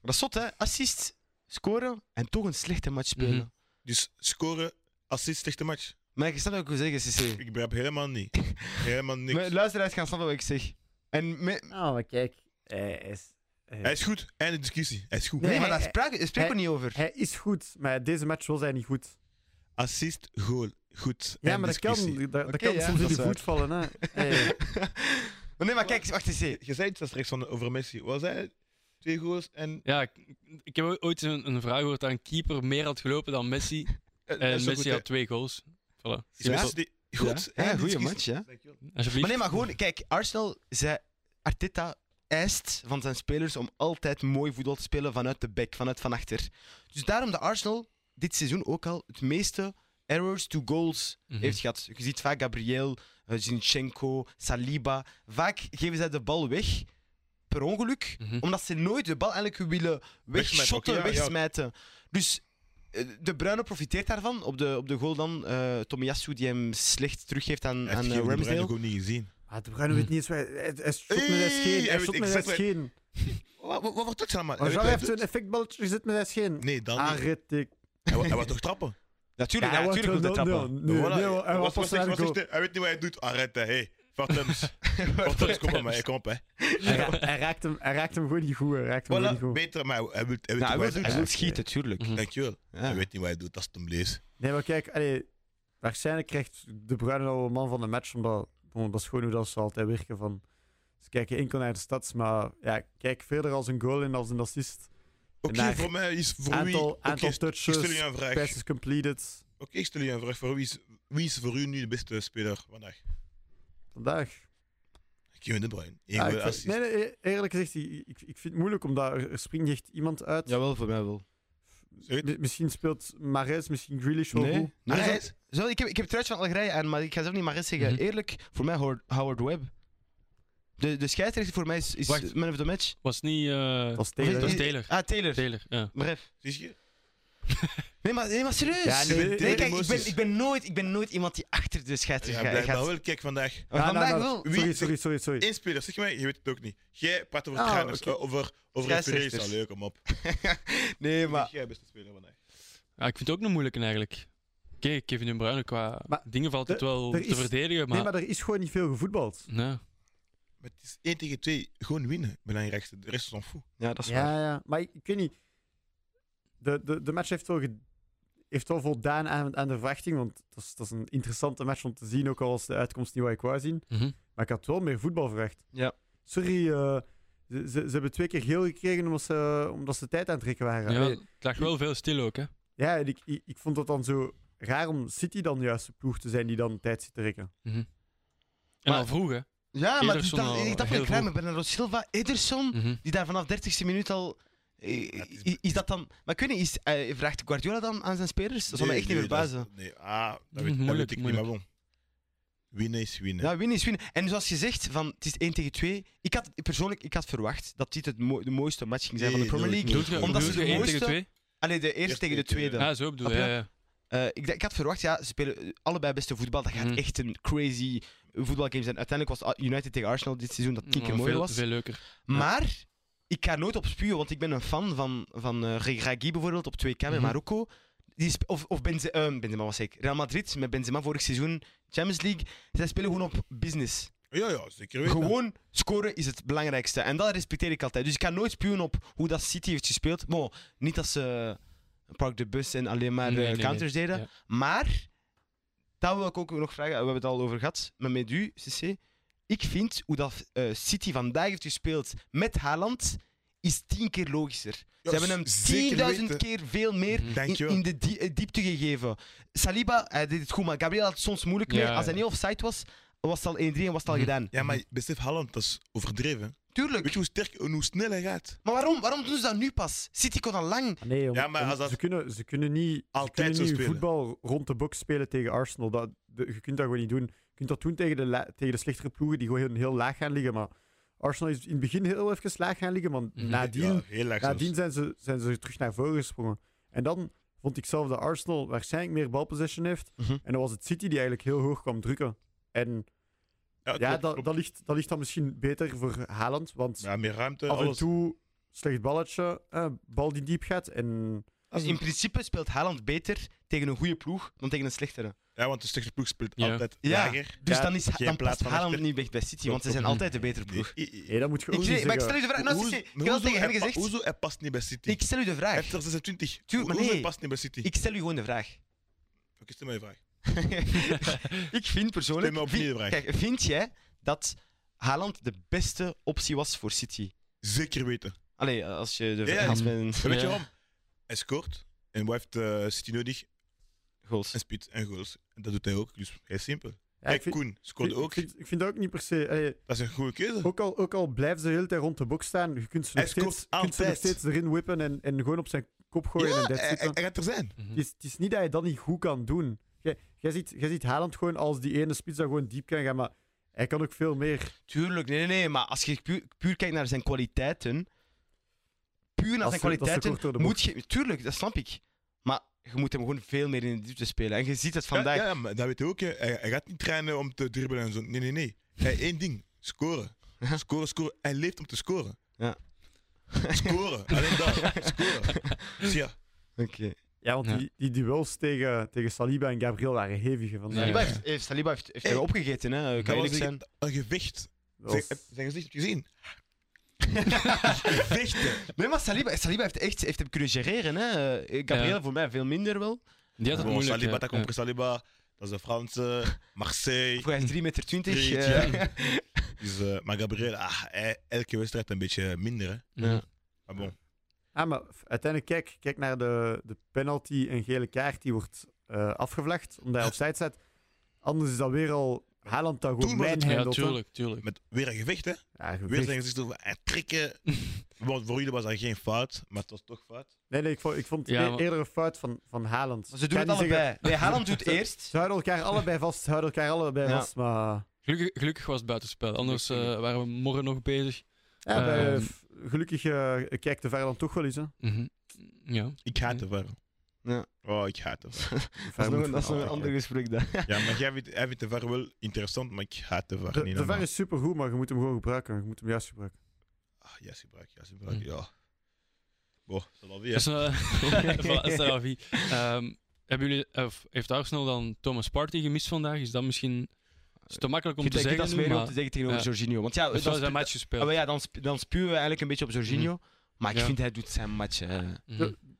B: Dat is zot, hè? Assist, scoren en toch een slechte match spelen.
A: Mhm.
D: Dus scoren, assist, slechte match.
B: Maar je snapt wat ik wil zeggen, CC.
D: Ik begrijp helemaal niet. Helemaal niks.
B: Maar Luisteraars gaan snappen wat ik zeg. En me-
E: Nou, maar kijk. Hij is, eh,
D: Hij is goed. Einde discussie. Hij is goed.
B: Nee,
E: Nee,
B: maar
E: hij-
B: daar spraken daar spreken we niet over.
C: Hij is goed, maar deze match was hij niet goed.
D: Assist, goal. Goed.
C: Ja,
D: Einde
C: maar dat kan,
D: discussie.
C: dat, dat
B: Oké,
C: kan
B: ja,
C: soms in
B: dat
C: de
B: is waar.
C: voet vallen. Hè. Hey.
B: Maar nee, maar kijk, wacht eens. hé.
D: Je zei het straks van, over Messi. Was hij twee goals en...
A: Ja, ik, ik heb ooit een, een vraag gehoord dat een keeper meer had gelopen dan Messi. En
D: en, en
A: Messi had
D: goed,
A: twee goals. Voilà.
D: hè. Is Eh, Messi die- Goed.
B: Ja,
D: einde
B: goeie
D: discussie.
B: match, ja.
D: Dankjewel.
A: Alsjeblieft.
B: Maar nee, maar gewoon, kijk, Arsenal, zei, Arteta eist van zijn spelers om altijd mooi voetbal te spelen vanuit de back, vanuit van achter. Dus daarom dat Arsenal dit seizoen ook al het meeste errors to goals
A: Mhm.
B: heeft gehad. Je ziet vaak Gabriel, eh, Zinchenko, Saliba. Vaak geven zij de bal weg per ongeluk,
A: Mhm.
B: omdat ze nooit de bal eigenlijk willen
D: Wegsmijten,
B: wegshotten,
D: oké, ja, ja.
B: wegsmijten. Dus eh, de Bruyne profiteert daarvan. Op de, op de goal dan eh Tomiyasu die hem slecht teruggeeft aan,
D: Hij
B: aan
D: heeft
B: eh,
D: Gio de Bruyne
B: Ramsdale.
D: gewoon niet gezien.
C: Ah, de Bruyne weet niet eens... wat Hij, hij, hij shot met
D: Hey,
C: zijn scheen.
D: hij
C: Hij
D: weet
C: shot met zijn
D: exact wat-
C: scheen.
D: Wat, wat, wat wordt dat allemaal? Eh,
C: Maar
D: Hij
C: Jean
D: weet-
C: heeft een effectballetje gezet met zijn scheen. Ah,
D: Nee, dan niet.
C: Aanrit ik.
D: Hij, wou- hij wou toch trappen?
B: Natuurlijk, ja, natuurlijk moet
C: wil
B: hij trappen.
C: Nee,
D: Voilà.
C: nee, hoor, hij was
D: Wat- wat
C: pas
D: zegt-
C: naar de
D: wat zegt
C: goal.
D: hij? Hij weet niet wat hij doet. Arrête, hé. Fortums. Fortums, kom op, maar kom op, hè.
C: Hij ra- Hij raakt hem- hij raakt hem gewoon niet goed. Hij raakt hem gewoon niet
D: Voilà,
C: goed.
D: beter, maar hij, hij wil- hij weet
B: Ja,
D: niet
B: Nou, hij
D: wat
B: wil,
D: hij
B: hij
D: doet.
B: wil schieten, tuurlijk.
A: Mhm.
D: Dankjewel. Hij
B: Ja.
D: weet niet wat hij doet, dat is hem lees.
C: Nee, maar kijk, allee, waarschijnlijk krijgt De Bruyne al een man van de match, omdat bon, dat is gewoon hoe dat ze altijd werken. Van, ze kijken enkel naar de stads, maar ja, kijk verder als een goal en als een assist.
D: Oké,
C: Naar-
D: voor mij is voor wie...
C: aantal,
D: Oké,
C: aantal
D: ik stel je
C: touches,
D: een vraag. Oké,
C: passes completed.
D: ik stel je een vraag. Voor wie is, wie is voor u nu de beste speler vandaag?
C: Vandaag.
D: Kevin De Bruyne.
C: Ah,
D: Eén
C: ik
D: goal
C: vind-
D: assist.
C: nee, nee, eerlijk gezegd, ik, ik vind het moeilijk, omdat er, er springt niet echt iemand uit.
B: Jawel, voor mij wel.
D: Zeg het.
C: Mi- misschien speelt Mares, misschien Grealish wel goed.
B: Nee. nee
D: Mahrez?
B: zo- Ah, zo, ik, heb, ik heb het truitje van Algerije aan, maar ik ga zelf niet Mares zeggen.
A: Mhm.
B: Eerlijk, voor mij Howard, Howard Webb. De, de scheidsrechter voor mij is, is
A: Wacht.
B: man of the match.
A: Was niet. eh,
C: Dat was
B: Of is-
C: Taylor.
A: Dat is
B: is-
A: Taylor.
B: Ah, Taylor.
A: Taylor, ja.
B: Bref.
D: Zie je?
B: Nee, maar, nee, maar serieus.
C: Ja,
B: nee,
C: nee,
D: Kevin,
C: nee,
D: Taylor
B: kijk, ik ben,
D: emoties.
B: ik, ben nooit, ik ben nooit iemand die achter de
D: Ja,
B: scheidsrechter gaat-
D: blijkbaar
B: gaat.
D: wel. Kijk vandaag.
B: Maar
C: Ah, nou,
B: vandaag
C: nou,
D: Wie-
B: wel.
C: Sorry, sorry, sorry. sorry.
D: Eén speler, zeg mij, je weet het ook niet. Jij praat over
C: Ah,
D: trainers,
C: oké.
D: eh, over, over een
B: Scheidsrechters.
D: is al leuk, om op.
B: Nee,
D: Wie is
B: maar...
D: jij beste speler vandaag?
A: Ja, Ah, ik vind het ook een moeilijke eigenlijk. Oké, Kevin De Bruyne qua
C: Maar
A: dingen valt het
C: er-
A: wel
C: er
A: te
C: is-
A: verdedigen, maar...
C: Nee, maar er is gewoon niet veel gevoetbald.
A: Nee.
D: Maar het is 1 tegen 2, gewoon winnen, belangrijkste. De rest is on fout.
B: Ja, dat is waar.
C: Ja, ja, maar ik, ik weet niet. De, de, de match heeft wel, ge- heeft wel voldaan aan, aan de verwachting. Want dat is, dat is een interessante match om te zien. Ook al was de uitkomst niet wat ik wou zien.
A: Mhm.
C: Maar ik had wel meer voetbal verwacht.
B: Ja.
C: Sorry, eh, ze, ze, ze hebben twee keer geel gekregen omdat ze, omdat ze tijd aan het trekken waren.
A: Ja,
C: Allee,
A: het lag wel veel stil ook, hè.
C: ja en ik, ik, ik vond dat dan zo raar om City dan juist de ploeg te zijn die dan tijd zit te trekken.
A: En
B: Maar-
A: al vroeg, hè.
B: Ja, maar dus
A: Ederson al
B: dat, ik dacht
A: heel
B: wel graag
A: goed.
B: met Bernardo Silva, Ederson...
A: Mhm.
B: die daar vanaf 30ste minuut al. eh,
D: Ja, het is-
B: i- is dat dan. Maar ik weet niet, is, eh, vraagt Guardiola dan aan zijn spelers? Dat zal me echt niet
D: nee, dat-
B: verbazen.
D: Nee, ah, dat weet, dat
A: Moeilijk,
D: weet ik niet,
A: moeilijk.
D: maar bon. Winnen is winnen.
B: Ja, winnen is winnen. En zoals je zegt, van, het is 1 tegen 2. Ik had, persoonlijk, ik had verwacht dat dit het mo- de mooiste match ging zijn van de
D: Nee,
B: Premier
D: nooit,
B: League.
D: nooit.
A: Doet je,
B: Omdat
A: omdat
B: ze
A: ze
B: de
A: één
B: mooiste-
A: tegen twee?
B: Allee, de eerste
D: Eerst
B: tegen de
D: tegen-
B: tweede.
A: Ja, zo bedoel je. Ja, ja.
B: Eh, ik, d- ik had verwacht, ja, ze spelen eh, allebei beste voetbal. Dat gaat
A: Mhm.
B: echt een crazy voetbalgame zijn. Uiteindelijk was United tegen Arsenal dit seizoen dat tien keer
A: Ja,
B: mooier
A: veel,
B: was.
A: Veel leuker.
B: Maar ik ga nooit op spuwen, want ik ben een fan van, van eh, Regragui bijvoorbeeld op 2K bij
A: Mhm.
B: Marokko. Die sp- of of Benze- eh, Benzema was ik. Real Madrid met Benzema vorig seizoen, Champions League. Zij spelen gewoon op business.
D: Ja, ja, zeker weten.
B: Gewoon scoren is het belangrijkste. En dat respecteer ik altijd. Dus ik kan nooit spuwen op hoe dat City heeft gespeeld. Maar niet dat ze eh, Park de Bus en alleen maar
A: Nee,
B: eh,
A: nee, nee.
B: counters deden.
A: Ja.
B: Maar, dat wil ik ook nog vragen. We hebben het al over gehad met Medu, CC. Ik vind hoe dat eh, City vandaag heeft gespeeld met Haaland, is tien keer logischer.
D: Ja,
B: Ze hebben hem
D: z- zeker
B: 10.000
D: weten.
B: keer veel meer
A: Mhm.
B: in,
D: Dankjewel.
B: in de die- eh, diepte gegeven. Saliba, hij deed het goed, maar Gabriel had het soms moeilijk mee.
A: Ja,
B: Als hij
A: ja.
B: niet offside was, was het al 1-3 en was het al
A: Mhm.
B: gedaan.
D: Ja, maar besef, Haaland, dat is overdreven.
B: Tuurlijk.
D: Weet je hoe sterk en hoe snel hij gaat?
B: Maar waarom, waarom doen ze dat nu pas? City kon al lang.
E: Ah, Nee, jongen.
D: Ja, maar als dat...
C: Ze, kunnen, ze kunnen niet, ze
D: Altijd
C: kunnen
D: zo
C: niet
D: spelen.
C: voetbal rond de box spelen tegen Arsenal. Dat, de- je kunt dat gewoon niet doen. Je kunt dat doen tegen de, la- tegen de slechtere ploegen die gewoon heel, heel laag gaan liggen. Maar Arsenal is in het begin heel even laag gaan liggen, maar
A: Mhm.
C: nadien,
D: Ja, heel laag zelfs.
C: nadien zijn, ze, zijn ze terug naar voren gesprongen. En dan vond ik zelf dat Arsenal waarschijnlijk meer balpossession heeft.
B: Mhm.
C: En dan was het City die eigenlijk heel hoog kwam drukken. En
D: klopt,
C: ja, dat,
D: klopt.
C: dat, ligt, dat ligt dan misschien beter voor Haaland, want
D: Ja, meer ruimte.
C: af en
D: alles.
C: toe slecht balletje, eh, bal die diep gaat en...
B: Dus in principe speelt Haaland beter tegen een goede ploeg dan tegen een slechtere.
D: Ja, want de slechte ploeg speelt
A: Ja.
D: altijd
B: Ja.
D: lager.
B: Dus
C: Ja,
B: dan, is,
D: geen
B: dan
D: plaats
B: past
D: van
B: Haaland
D: achter.
B: niet weg bij City, want ze zijn
A: Mhm.
B: altijd de betere ploeg.
D: I- i- i-
C: Nee, dat moet je ook
B: Ik,
C: niet
B: zeg- maar ik
C: zeggen.
B: stel u de vraag. Nou,
D: Hoezo-
B: City, ik heb
D: hoezo
B: dat tegen hen
D: hij pa-
B: gezegd.
D: Hoezo, hij past niet bij City.
B: Ik stel u de
D: Hij
B: vraag.
D: heeft er 26.
B: Tuur, maar
D: Hoezo, hij
B: nee.
D: past niet bij City.
B: Ik stel u gewoon de vraag.
D: Oké, stel mij een vraag.
B: ik vind persoonlijk.
D: Stem me opnieuw,
B: vind-
D: Brian.
B: kijk, vind jij dat Haaland de beste optie was voor City?
D: Zeker weten.
B: Allee, als je de
D: Ja, ja.
B: als men
D: En weet je
A: Ja.
D: waarom? Hij scoort. En wat heeft eh, City nodig?
B: goals.
D: En spits en goals. En dat doet hij ook. Dus heel simpel.
C: Ja,
D: Kijk,
C: ik vind-
D: Koen scoorde
C: Ik-
D: ook.
C: Ik vind, ik vind dat ook niet per se. allee,
D: Dat is een goede keuze.
C: ook, al, ook al blijven ze de hele tijd rond de box staan, je kunt ze,
D: Hm. Hij
C: nog
D: scoort
C: steeds, kunt ze nog
D: altijd.
C: steeds erin whippen en, en gewoon op zijn kop gooien. en
D: Ja,
C: dat
D: hij, hij- hij gaat er zijn.
A: Mhm.
C: het, is, het is niet dat je dat niet goed kan doen. Jij, jij, ziet, jij ziet Haaland gewoon als die ene spits dat gewoon diep kan gaan, maar hij kan ook veel meer.
B: Tuurlijk, nee, nee, nee. Maar als je puur, puur kijkt naar zijn kwaliteiten. Puur naar
C: Dat
B: zijn
C: is te- dat is te kort door de
B: kwaliteiten. Moet
C: bocht.
B: je, tuurlijk, dat snap ik. Maar je moet hem gewoon veel meer in de diepte spelen. En je ziet het vandaag.
D: Ja, ja, maar dat weet hij ook. hè. Hij, hij gaat niet trainen om te dribbelen en zo. Nee, nee, nee. Hij één ding. Scoren.
B: Ja.
D: Scoren, scoren. Hij leeft om te scoren.
B: Ja.
D: Scoren. Alleen dat. Scoren. Dus ja.
B: Oké.
C: Ja, want
A: Ja.
C: Die, die duels tegen, tegen Saliba en Gabriel waren hevige vandaag.
B: Saliba heeft, heeft, Saliba heeft, heeft
D: Hey.
B: er opgegeten, hè? Kan
D: Dat
B: eerlijk
D: was
B: zijn.
D: een, een gewicht.
C: Dat was-
D: Zijn, heb- zijn gezicht heb je gezien? Gewichten.
B: Nee, maar Saliba, Saliba heeft echt heeft hem kunnen gereren, hè? Eh, Gabriel
A: Ja.
B: voor mij veel minder wel.
A: Die had het
D: Bon,
A: moeilijk.
D: Saliba,
A: ja.
D: dat komt Saliba. Dat is de Franse. Marseille.
B: Voor hij is 3,20 meter.
D: Drie,
B: eh,
D: Dus, eh, maar Gabriel, ah, hij- elke wedstrijd een beetje minder. Hè.
A: Ja.
B: Ja.
D: Maar bon.
C: Ah, maar f- uiteindelijk, kijk, kijk naar de, de penalty en gele kaart die wordt eh afgevlacht, omdat hij opzij staat. Anders is dat weer al Haaland dat
D: Toen
C: gewoon
D: was het-
A: Ja,
C: manhandelt. hè.
A: tuurlijk, tuurlijk.
D: Met weer een gewicht, hè?
C: Ja, gevecht.
D: Weer zijn gezicht over en trekken. Want voor jullie was dat geen fout, maar het was toch fout.
C: Nee, nee, ik vond, ik vond
A: Ja,
C: e-
A: maar-
C: eerder een fout van, van Haaland.
B: Maar ze
C: Ik kan
B: doen het
C: niet zeggen-
B: allebei. Nee, Haaland doet eerst.
C: Ze houden elkaar allebei vast, ze houden elkaar allebei
B: Ja.
C: vast, maar...
A: Gelukkig, gelukkig was het buitenspel, anders eh, waren we morgen nog bezig.
C: Ja, bij-
A: Ehm.
C: f- gelukkig eh, kijkt de VAR dan toch wel eens, hè.
A: Mhm. Ja.
D: Ik haat het wel.
B: Mm. Ja.
D: Oh, ik haat het.
C: De
B: Dat
C: VAR
B: is nog
C: moet
B: een, dat is
C: van
B: nog een
C: alle
B: ander gesprek dan.
D: Ja, maar jij vindt, jij vindt de VAR wel interessant, maar ik haat de
C: kijken.
D: VAR
C: De,
D: niet.
C: de VAR
D: normaal.
C: is supergoed, maar je moet hem gewoon gebruiken. Je moet hem juist gebruiken.
D: Ah, ja, ze gebruik, ja, ze gebruik,
A: Hm.
D: ja. Boh, dat Mm. is alweer.
A: Dus, eh, voilà, c'est la vie. Ehm, hebben jullie, of heeft Arsenal dan Thomas Partey gemist vandaag? Is dat misschien is te makkelijk om
B: Ik
A: te
B: vind dat
A: zeggen?
B: is
A: nu,
B: meer om te
A: maar
B: zeggen tegenover
A: ja.
B: Jorginho. Want ja,
A: heeft wel zijn
B: dan, spu-
A: match
B: Ah, maar
A: gespeeld. Mhm.
B: ja, dan, sp- dan spuwen we eigenlijk een beetje op Jorginho. Maar ik
A: Ja.
B: vind hij doet zijn match. eh,
A: Mhm.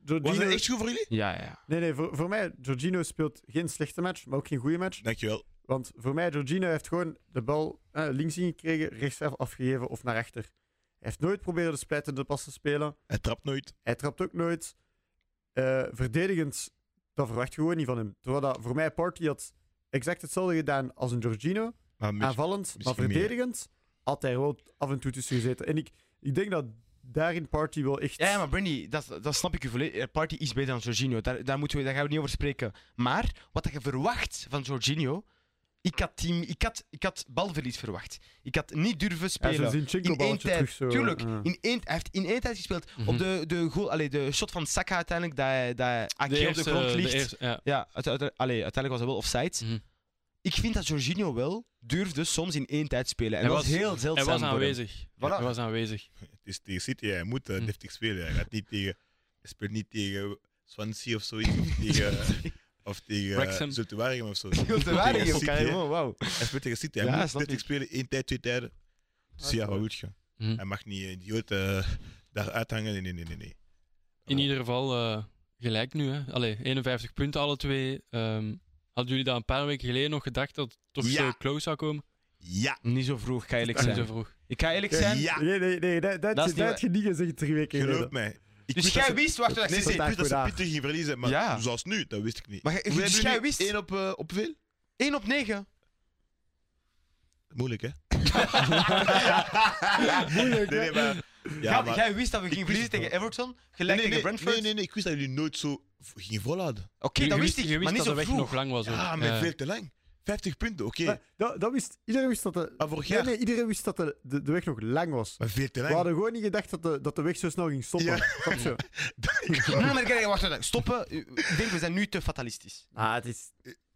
C: Jorginho-
D: Was dat echt goed voor jullie?
B: ja, ja.
C: Nee, nee, voor, voor mij, Jorginho speelt geen slechte match, maar ook geen goede match.
D: Dankjewel.
C: Want voor mij, Jorginho heeft gewoon de bal eh, links ingekregen, rechts af- afgegeven of naar achter. Hij heeft nooit proberen de splijtende pas te spelen.
D: Hij trapt nooit.
C: Hij trapt ook nooit. Eh, verdedigend, dat verwacht je gewoon niet van hem. Terwijl dat voor mij Party had exact hetzelfde gedaan als een Jorginho.
B: Ah,
D: Maar mis-
C: Aanvallend, maar
D: misschien meer.
C: verdedigend had hij wel af en toe tussen gezeten. En ik, ik denk dat daarin Party wel echt...
B: Ja, maar Brandy, dat, dat snap ik u volledig. Eh, Party is beter dan Jorginho. Daar, daar, moeten we, daar gaan we niet over spreken. Maar wat dat je verwacht van Jorginho. Ik had, team, ik, had, ik had balverlies verwacht. Ik had niet durven
C: ja, zo'n
B: spelen.
C: Zinchenko-balletje
B: tijd,
C: terug. Zo,
B: tuurlijk.
C: eh.
B: in één, hij heeft in één tijd gespeeld.
A: Mhm.
B: Op de, de, goal, allee, de shot van Saka uiteindelijk, dat, hij- dat hij Ake op de grond ligt.
A: De eerste, ja.
B: Ja, uite- uite- allee, uiteindelijk was hij wel offside.
A: Mhm.
B: Ik vind dat Jorginho wel durfde soms in één tijd spelen. En
A: Hij
B: dat was
A: was-
B: heel zeldzaam.
A: Hij was
B: voor hem.
A: aanwezig.
B: Voilà.
A: Hij was aanwezig.
D: Het is tegen City, hij moet eh,
A: Hm.
D: deftig spelen. Hij gaat niet tegen... Hij speelt niet tegen Swansea of zoiets. Of tegen... Of tegen eh,
A: Wrexham.
D: Zultuarium of zo.
B: Heel te waardig,
D: Tegen City, hè.
B: Carremo, wauw.
D: Hij speelt tegen City. Hij
B: Ja,
D: moet
B: snap
D: 30
B: ik.
D: spelen, één tijd, twee tijden. Dus ja, wat wil je?
B: Hm.
A: Mhm.
D: Hij mag niet eh, idioot eh, daaruit hangen. Nee, nee, nee, nee, nee.
A: In ieder geval eh, gelijk nu. Hè. Allee, 51 punten alle twee. Ehm, hadden jullie dat een paar weken geleden nog gedacht dat het toch
D: Ja.
A: zo close zou komen?
D: Ja!
B: Niet zo vroeg, ga eerlijk
A: Dat is zo
B: zijn.
A: vroeg.
B: Ik ga eerlijk
C: Ja.
B: zijn.
D: Ja!
C: Nee, nee, nee, dat, dat,
B: Dat is
C: dat
B: niet
C: had je niet gezegd drie weken geleden.
D: Geloof mij. Ik
B: Dus
D: wist
B: jij
D: dat ze-
B: wist, wacht, wacht,
D: Nee,
B: wacht,
D: ik
B: wacht.
C: vandaag
D: wist dat ze
C: vandaag.
D: Pieter ging verliezen, maar
B: Ja.
D: zoals nu, dat wist ik niet.
B: Maar jij-
D: Hoeveel
B: dus
D: hebben
B: jij
D: jullie?
B: wist
D: Eén op, eh, op veel?
B: 1 op 9.
D: Moeilijk, hè? Moeilijk, nee, nee, maar, ja,
B: Jij-
D: maar,
B: Jij wist dat we gingen
D: wist
B: verliezen
D: het
B: tegen Everton,
D: nee,
B: gelijk
D: nee,
B: tegen
D: nee,
B: Brentford.
D: nee, nee, nee, ik wist dat jullie nooit zo v- gingen volhouden.
B: Oké, dat wist ik,
A: je wist
B: maar niet
A: dat
B: zo
A: de weg
B: vroeg.
A: nog lang was.
D: Ja,
A: ook.
D: maar
B: eh.
A: Ja.
D: veel te lang. 50 punten, oké.
C: Maar dat, dat wist, iedereen wist dat de,
D: Maar Ah, vorig
C: nee,
D: jaar,
C: nee, iedereen wist dat de, de, de weg nog lang was.
D: maar veel te
C: We
D: lang.
C: hadden gewoon niet gedacht dat de, dat de weg zo snel ging stoppen.
D: Ja.
C: Snap je?
B: Nee, Nou, maar kijk, wacht, wacht, stoppen. Eh, Ik denk, we zijn nu te fatalistisch.
E: Ah, het is...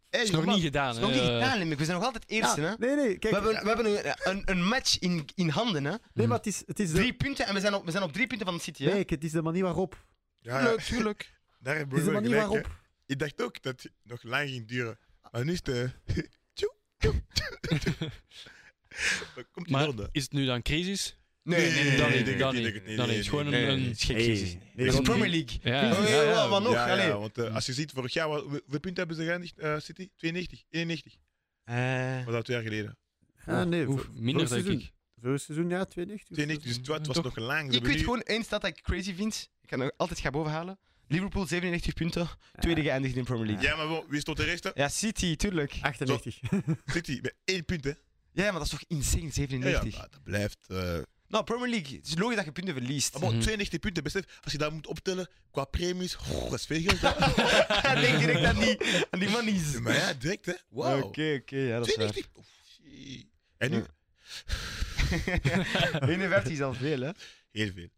D: Hey,
A: is nog
D: man,
A: niet gedaan. eh,
B: Dat is nog niet
A: hè.
B: gedaan, Limburg. We zijn nog altijd eerste,
C: Ja,
B: hè.
C: Nee, nee,
B: We
C: kijk.
B: hebben, we hebben een, een, een match in, in handen, hè.
C: Nee, maar het is, het is de,
B: Drie punten en we zijn op, we zijn op drie punten van de City, hè.
C: Kijk, het is de manier waarop.
D: Ja, ja.
B: Tuurlijk, tuurlijk.
D: Daar hebben
C: Het is
D: we
C: de
D: wel
C: manier
D: gelijk, hè.
C: waarop.
D: Ik dacht ook dat het nog lang ging duren. Maar nu is het... eh, tjoe, tjoe, tjoe. Komt in
A: Maar
D: orde.
A: is het nu dan crisis?
D: Nee, nee, nee,
A: dan
D: nee,
A: niet,
D: nee,
A: dan
D: nee,
A: niet,
D: nee, nee,
A: dan
D: nee,
A: niet. Gewoon
D: nee,
A: een-
D: nee.
A: een...
E: Hey, nee,
B: Het is
E: dat-
B: Premier League.
A: Ja,
B: Oh,
A: ja, ja.
B: ja, wat nog?
D: ja,
B: Allee.
D: ja, want eh, als je ziet, vorig jaar, wat- hoeveel punten hebben ze geëindigd, eh, City? 92, 91.
B: Eh,
D: Was dat twee jaar geleden?
C: Ah, nee,
A: Oef,
C: voor-
A: minder dan
C: vorig
A: ik.
C: voor het seizoen, ja, 92.
D: 92, dus het wa- het was
A: Toch?
D: nog lang. Ze
B: ik
D: hebben
B: weet
D: nu-
B: gewoon één stad dat ik crazy vind. Ik kan er altijd gaan bovenhalen. Liverpool, 97 punten. Tweede geëindigd in Premier League.
D: Ja, maar wel, wie stond de rest? hè?
B: Ja, City, tuurlijk.
E: 98.
D: City, met één punt, hè?
B: Ja, maar dat is toch insane,
D: Ja, ja,
B: 97.
D: maar dat blijft... eh,
B: Nou, Premier League. Het is logisch dat je punten verliest.
D: Maar Ah, bon,
A: Mhm.
D: 92 punten, besef, als je dat moet optellen qua premies, goh, dat is veel geld. hè.
B: Denk direct aan die, aan die manies.
D: maar ja, direct hè. Wauw.
B: oké. Ja, dat
D: 92. Oef, jee. en nu?
B: Ja. 51 is al veel, hè?
D: Heel veel.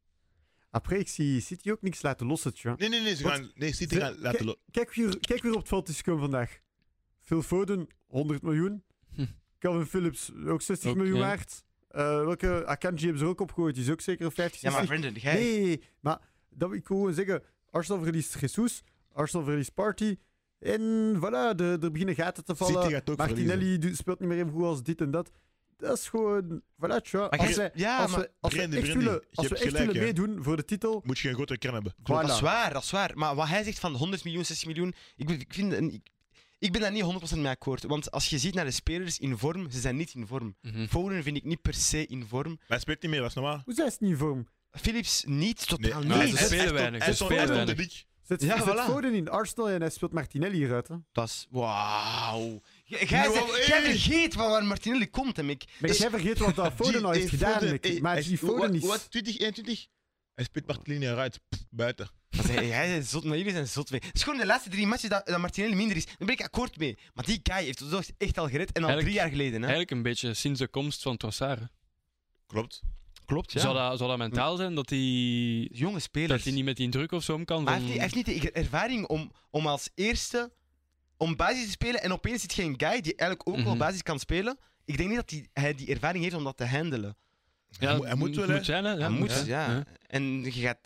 C: Après, ik zie City ook niks laten lossen, tja.
D: Nee, nee, nee, ze
C: Wat?
D: gaan, nee, City
C: Ze-
D: gaan laten lopen.
C: Kijk weer, kijk weer op het veld is gekomen vandaag. Phil Foden, 100 miljoen.
A: Hm.
C: Calvin Phillips, ook 60
A: Ook,
C: miljoen
A: ja.
C: waard. Eh, welke Akanji hebben ze er ook opgegooid? Die is ook zeker 50,
B: Ja, maar
C: 60.
B: Brendan, jij...
C: Nee, maar dat, ik wil gewoon zeggen, Arsenal verliest Jesus, Arsenal verliest Party. En voilà, de, er beginnen gaten te vallen.
D: City gaat ook verliezen.
C: Martinelli doet- speelt niet meer even goed als dit en dat. Dat is gewoon, voilà, tja.
B: Maar
C: Als
B: je-
C: wij,
B: ja,
C: als
B: maar-
C: we, als we
D: Brandy,
C: echt
D: Brandy,
C: willen,
D: je
C: als
D: hebt
C: we echt
D: gelijk,
C: willen
D: hè.
C: meedoen voor de titel,
D: Moet je een grotere kern hebben.
C: voilà.
B: Dat is waar, dat is waar. Maar wat hij zegt van de 100 miljoen, 60 miljoen, ik, ben- ik, vind, en ik, ik ben daar niet 100% mee akkoord. Want als je ziet naar de spelers in vorm, ze zijn niet in vorm.
A: Mhm.
B: Foden vind ik niet per se in vorm.
D: Maar hij speelt niet meer, dat is normaal.
C: Hoe zijn ze niet voor hem?
B: Philips niet, totaal
A: maar
D: hij
A: ze
B: niet.
D: stond-
A: spelen
D: hij stond-
A: weinig,
D: Hij
A: ze
D: stond
A: spelen
D: echt op de
A: weinig.
D: dik.
C: Zet,
B: Ja,
C: zet
B: voilà.
C: Foden in Arsenal en hij speelt Martinelli eruit, hè?
B: Dat is... Wauw. Jij- Jij
D: Nou,
B: zegt-
D: hey.
B: jij vergeet van waar Martinelli komt, Dus en ik.
C: Maar jij vergeet wat dat Foden al heeft
D: Hey,
C: nou gedaan,
D: Foden,
C: Mick.
D: hey,
C: maar
D: eh, hij
C: die
D: speelt-
C: Foden
D: wat-
C: is...
D: Wat, 20, 21? Hij speelt Martinelli eruit, pff, buiten.
B: Maar zij- Jij bent zot, maar jullie zijn zot mee. Het is gewoon de laatste drie matches dat, dat Martinelli minder is. Daar ben ik akkoord mee. Maar die guy heeft ons toch echt al gered. En al
A: Eigenlijk-
B: drie jaar geleden. Hè?
A: Eigenlijk een beetje sinds de komst van Trossard. hè.
D: Klopt.
B: Klopt,
A: Zou, dat, zou dat mentaal zijn dat hij
B: Jonge
A: dat
B: spelers.
A: hij niet met die druk of zo om kan?
B: Maar
A: van-
B: hij heeft, niet, hij heeft niet de ervaring om, om als eerste om basis te spelen. En opeens zit geen guy die eigenlijk ook wel
A: Mhm.
B: basis kan spelen. Ik denk niet dat hij, hij die ervaring heeft om dat te handelen.
A: Ja,
D: hij, moet- hij moet wel,
A: het
D: hè.
A: moet zijn, hè. Ja,
B: hij
A: het
B: moet,
A: moet, hè.
B: ja. En je gaat,